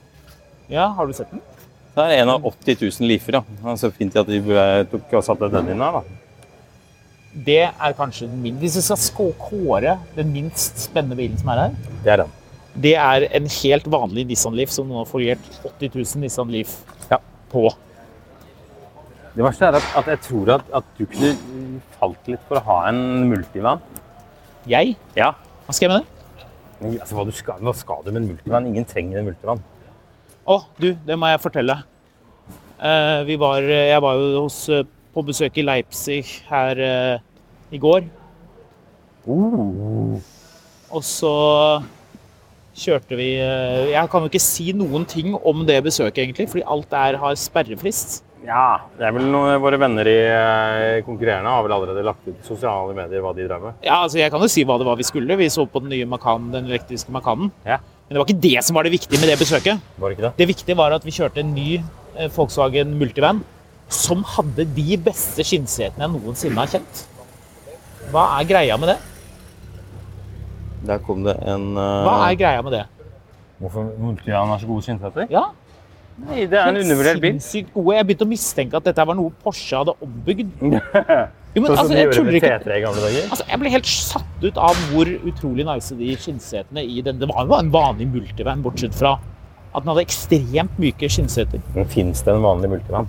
S3: Ja, har du sett den?
S4: Det er en av 80 000 lifer, ja. Det er Så fint at de eh, tok og satte den inn her, da.
S3: Det er kanskje den min- Hvis vi skal skå- kåre den minst spennende bilen som er her,
S4: Det er den.
S3: det er en helt vanlig Nissan Leaf som nå har foliert 80 000 Nissan Leaf
S4: Ja.
S3: på.
S4: Det verste er at, at jeg tror at, at du kunne falt litt for å ha en multivan.
S3: Jeg?
S4: Ja.
S3: Hva skal jeg med det?
S4: Men altså, hva, du skal, hva skal du med en multivan? Ingen trenger en multivan.
S3: Å, du, det må jeg fortelle. Eh, vi var, jeg var jo hos, eh, på besøk i Leipzig her eh, i går.
S4: Uh.
S3: Og så kjørte vi eh, Jeg kan jo ikke si noen ting om det besøket, egentlig, fordi alt der har sperrefrist.
S4: Ja, det er vel noen av våre venner i eh, konkurrerende har vel allerede lagt ut i sosiale medier hva de drev med.
S3: Ja, altså Jeg kan jo si hva det var vi skulle. Vi så på den nye Macan, den elektriske Macanen.
S4: Ja,
S3: Men det var ikke det som var det viktige med det besøket.
S4: var det ikke det?
S3: Det viktige var at vi kjørte en ny eh, Volkswagen Multivan som hadde de beste skinnsetene jeg noensinne har kjent. Hva er greia med det?
S4: Der kom det en eh,
S3: Hva er greia med det?
S4: Hvorfor Multivan har så gode skinnsetter?
S3: Ja,
S4: Nei, det er en undervurdert bil.
S3: Sinnssykt gode. Jeg begynte å mistenke at dette var noe Porsche hadde ombygd. Jo, men
S4: Sånn som
S3: altså,
S4: de
S3: jeg
S4: gjorde
S3: tuller
S4: med
S3: ikke.
S4: T3 i gamle dager.
S3: Altså, jeg ble helt satt ut av hvor utrolig nice de skinnsetene i den. Det var jo en vanlig multivan, bortsett fra at den hadde ekstremt myke skinnseter.
S4: Men fins det en vanlig multivan?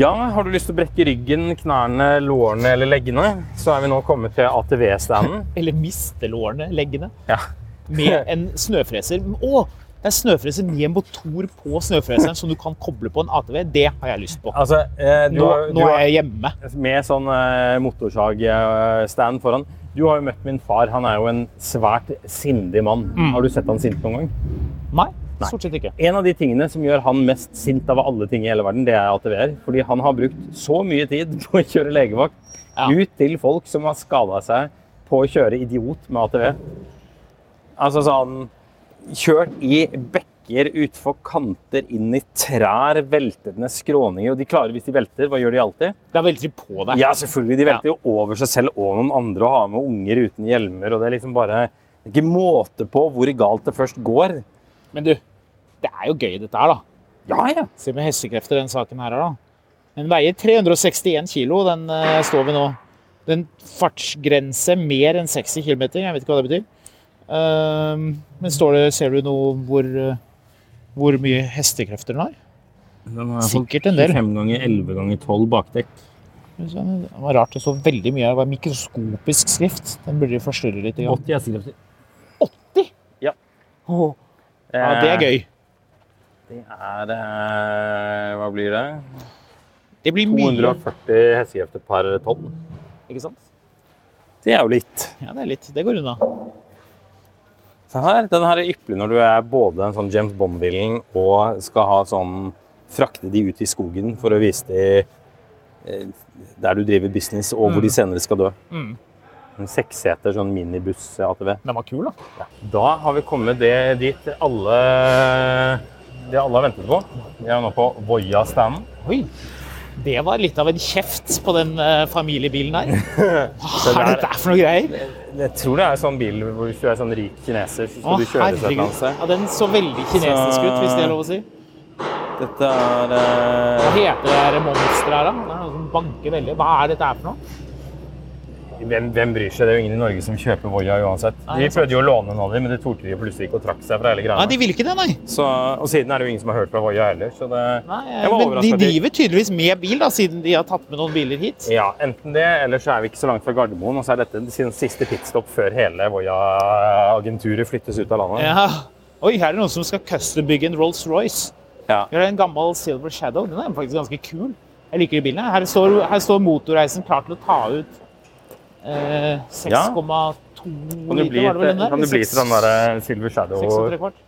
S4: Ja, har du lyst til å brekke ryggen, knærne, lårene eller leggene, så er vi nå kommet til ATV-standen.
S3: Eller mistelårene, leggene.
S4: Ja.
S3: Med en snøfreser. Å, det er snøfreser med en motor på snøfreseren som du kan koble på en ATV. Det har jeg lyst på.
S4: Altså, eh, du,
S3: Nå,
S4: har- du
S3: nå
S4: har-
S3: er jeg hjemme.
S4: med sånn eh, motorsag-stand foran. Du har jo møtt min far. Han er jo en svært sindig mann. Har du sett han sint noen gang?
S3: Nei, stort sett ikke.
S4: En av de tingene som gjør han mest sint av alle ting i hele verden, det er ATV-er. Fordi han har brukt så mye tid på å kjøre legevakt
S3: Ja.
S4: ut til folk som har skada seg på å kjøre idiot med ATV. Altså sånn Kjørt i bekker, utfor kanter, inn i trær, veltet ned skråninger. Og de klarer, hvis de velter, hva gjør de alltid?
S3: Det er veldig på deg.
S4: Ja, selvfølgelig. De velter jo over seg selv og noen andre og har med unger uten hjelmer. og Det er liksom bare det er ikke måte på hvor galt det først går.
S3: Men du, det er jo gøy dette her, da.
S4: Ja, ja.
S3: Se med hestekrefter den saken her, da. Den veier 361 kilo, den eh, står vi nå. Den fartsgrense mer enn 60 km, jeg vet ikke hva det betyr. Ehm, men står det, ser du noe hvor, eh, hvor mye hestekrefter den har?
S4: Den har
S3: Sikkert en del.
S4: 5 ganger 11 ganger 12 bakdekk.
S3: Det var rart, det så veldig mye her. Det var mikroskopisk skrift. Den burde jo forstyrre litt. Ja.
S4: 80 hestekrefter.
S3: 80?
S4: Ja.
S3: Åh, ja, det
S4: Eh,
S3: er gøy.
S4: Det er eh, Hva blir det?
S3: Det blir mye.
S4: 240 hestekrefter per tonn.
S3: Ikke sant?
S4: Det er jo litt.
S3: Ja, det er litt. Det går unna.
S4: Se her. Den her er ypperlig når du er både en sånn James Bond-villen og skal ha sånn Frakte de ut i skogen for å vise de eh, der du driver business, og
S3: Mm.
S4: hvor de senere skal dø. En seksseter sånn minibuss-ATV.
S3: Den var kul, da.
S4: Da har vi kommet det, dit alle det alle har ventet på. Vi er nå på Voia-standen.
S3: Oi. Det var litt av en kjeft på den eh, familiebilen her. Hva er dette for noe greier?
S4: Jeg tror det er sånn bil hvor hvis du er sånn rik kineser, så skal
S3: Å,
S4: du kjøre til et eller
S3: herregud.
S4: annet sted.
S3: Ja, den så veldig kinesisk ut, hvis det er lov å si.
S4: Dette er
S3: Hva
S4: eh,
S3: heter det her monsteret her, da? Det er noe som banker veldig. Hva er dette her for noe?
S4: eh, Hvem, hvem bryr seg? Det er jo ingen i Norge som kjøper Voia uansett.
S3: Nei,
S4: De
S3: det er
S4: prøvde jo å låne en av dem, men det torde de plutselig ikke og trakk seg fra hele
S3: Nei,
S4: greia.
S3: de vil ikke det, nei.
S4: Så, og siden er det jo ingen som har hørt fra Voia heller, så det
S3: nei
S4: jeg var
S3: men de
S4: overrasket at de-
S3: driver tydeligvis med bil, da, siden de har tatt med noen biler hit.
S4: Ja, enten det, eller så er vi ikke så langt fra Gardermoen, og så er dette sin siste pitstop før hele Voia-agenturet flyttes ut av landet.
S3: Ja. Oi, her er det noen som skal custom-bygge en Rolls-Royce.
S4: Ja.
S3: Vi har en gammel Silver Shadow. Den er faktisk ganske kul. Jeg liker de bilene. Her står, her står motorreisen klar til å ta ut eh, 6,2
S4: Ja. Kan
S3: liter,
S4: du bli,
S3: var det vel den der?
S4: kan du bli til den der eh, Silver
S3: Seks og
S4: Shadow?
S3: tre kvart.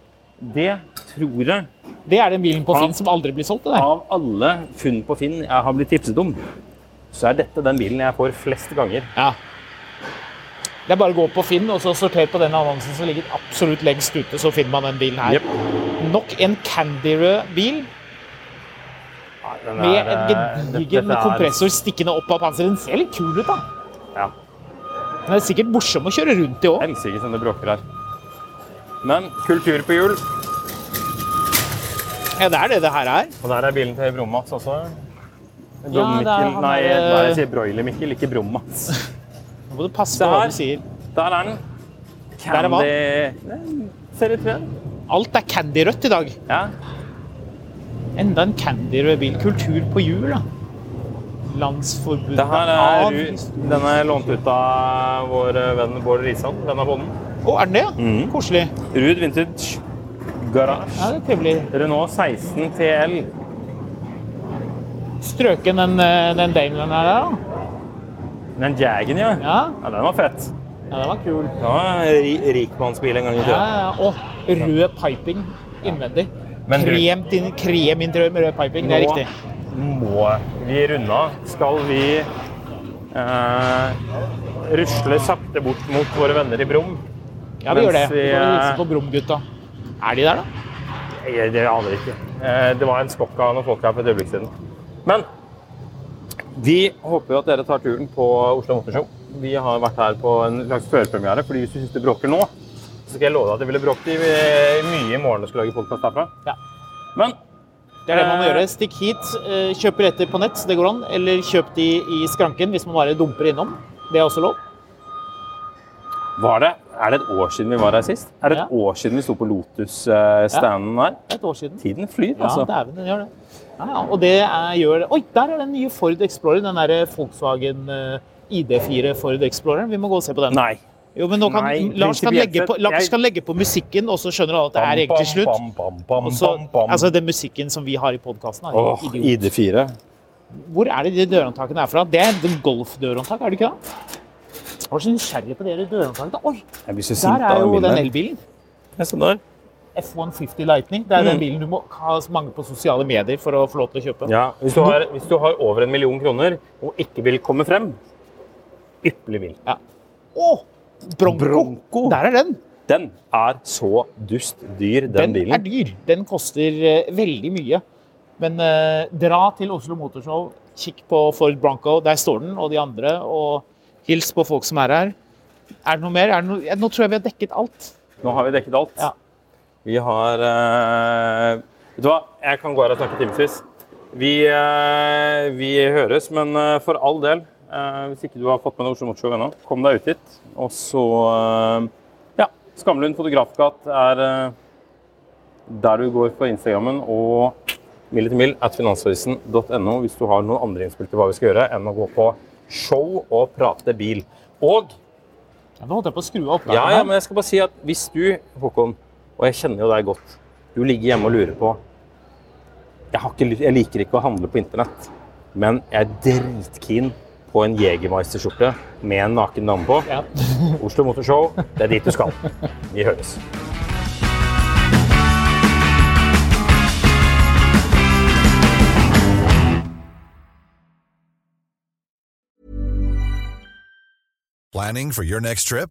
S4: Det tror jeg
S3: Det er den bilen på
S4: Ja.
S3: Finn som aldri blir solgt. Det der.
S4: av alle funn på Finn jeg har blitt tipset om, så er dette den bilen jeg får flest ganger.
S3: Ja. Det er bare å gå på Finn og så sortere på den annonsen som ligger absolutt lengst ute, så finner man den bilen her.
S4: Jep.
S3: Nok en candyrød bil
S4: Den
S3: med
S4: er, eh,
S3: en
S4: dette-
S3: gedigen
S4: dette er-
S3: kompressor stikkende opp av panseret. Den ser litt kul ut, da.
S4: Ja,
S3: Den er sikkert morsom å kjøre rundt i òg.
S4: helsike som det bråker her. Men kultur på hjul.
S3: Ja, det er det det her er.
S4: Og der er bilen til Bromats også.
S3: Ja, det er
S4: Brommikkel-
S3: han
S4: nei,
S3: der, eh,
S4: nei, jeg sier Broiler-Mikkel, ikke Bromats.
S3: Nå må du passe
S4: Se
S3: på hva
S4: her.
S3: du sier.
S4: Der er den.
S3: Der er hva?
S4: Candy Ser ut som den.
S3: Alt er candyrødt i dag.
S4: Ja.
S3: Enda en candy-rød bil. Kultur på hjul, da. Landsforbundet
S4: Det her er,
S3: av
S4: ru- den er lånt ut av vår venn Bård Risan, venn av bonden.
S3: Å, er den det? ja?
S4: Mhm.
S3: Koselig.
S4: Ruud Vintage
S3: Ja,
S4: Garage.
S3: det er trivelig.
S4: Renault 16 TL.
S3: Strøken den, eh, den Daimleren her, da.
S4: Den Jagen, ja. ja.
S3: Ja,
S4: Den var fett.
S3: ja den var kul.
S4: Den var en ri- rikmannsbil en gang i
S3: Ja,
S4: tida.
S3: ja. Og rød piping innvendig.
S4: Men du-
S3: Kremt inn- Kreminteriør med rød piping, det er riktig.
S4: Nå må vi runde av. Skal vi eh, rusle sakte bort mot våre venner i Brum?
S3: Ja, vi gjør det.
S4: Mens
S3: Vi
S4: vi,
S3: kan hilse
S4: eh,
S3: på Brumgutta. Er de der, da?
S4: Jeg, det aner jeg ikke. Eh, Det var en skokk av noen folk her for et øyeblikk siden. Men vi håper jo at dere tar turen på Oslo Motorshow. Vi har vært her på en slags førpremiere, fordi hvis du syns det bråker nå, så skal jeg love deg at det ville bråkt i- mye i morgen når vi skal lage podkast herfra.
S3: Ja.
S4: Men
S3: Det er det man må
S4: Eh,
S3: gjøre. Stikk hit, eh, kjøp billetter på nett, det går an. Eller kjøp de i skranken hvis man bare dumper innom. Det er også lov.
S4: var det, er det et år siden vi var her sist? Er det et
S3: Ja.
S4: år siden vi sto på Lotus-standen her?
S3: Det er et år siden.
S4: Tiden flyr,
S3: Ja,
S4: altså.
S3: dæven, den gjør det. Ja, ja. Og det er, gjør Oi, der er den nye Ford Explorer. Den derre Volkswagen eh, ID4 Ford Explorer. Vi må gå og se på den.
S4: Nei.
S3: Jo, men nå kan
S4: Nei,
S3: Lars, kan
S4: prinsipielt
S3: legge på,
S4: sett,
S3: Lars
S4: jeg-
S3: kan legge på musikken, og så skjønner alle at det er egentlig slutt.
S4: Bam, bam, bam,
S3: Og så,
S4: bam, bam.
S3: altså, den musikken som vi har i podkasten, er
S4: Åh,
S3: jo idiot.
S4: ID4.
S3: Hvor er det de dørhåndtakene er fra? Det er de golfdørhåndtak, er det ikke det? Jeg var så nysgjerrig på dere dørhåndtakene. Oi,
S4: Jeg blir så sint
S3: der er
S4: av
S3: jo
S4: den
S3: den
S4: bilen.
S3: elbilen.
S4: Jeg ser der.
S3: F150 Lightning. Det er den
S4: Mm.
S3: bilen du må ha så mange på sosiale medier for å få lov til å kjøpe.
S4: Ja, hvis du, har, hvis du har over en million kroner og ikke vil komme frem, ypperlig bil.
S3: Å! Bronco.
S4: Bronco.
S3: Der er den.
S4: Den er så dust dyr,
S3: Den,
S4: den,
S3: er
S4: bilen.
S3: dyr. Den koster eh, veldig mye. Men eh, dra til Oslo Motorshow, kikk på Ford Bronco. Der står den, og de andre. Og hils på folk som er her. Er det noe mer? Er det noe? ja, Nå tror jeg vi har dekket alt.
S4: Nå har vi dekket alt.
S3: Ja.
S4: Vi har eh, Vet du hva, jeg kan gå her og snakke timevis. Vi, eh, vi høres, men eh, for all del, eh, hvis ikke du har fått med deg Oslo Motorshow ennå, kom deg ut dit. Og så eh, Ja. Skamlund fotografgat er eh, der du går på Instagrammen og mil etter mil at finansavisen.no hvis du har noen andre innspill til hva vi skal gjøre enn å gå på show og prate bil. Og
S3: Ja, nå holdt jeg på å skru av oppgaven.
S4: ja, ja,
S3: her.
S4: men jeg skal bare si at hvis du, Håkon, og jeg kjenner jo deg godt, du ligger hjemme og lurer på Jeg, har ikke, lyst- jeg liker ikke å handle på internett, men jeg er dritkeen på en Jegermeister-skjorte med en naken dame på.
S3: Ja.
S4: Oslo Motorshow, det er dit du skal. Vi høres.
S5: Planning for your next trip?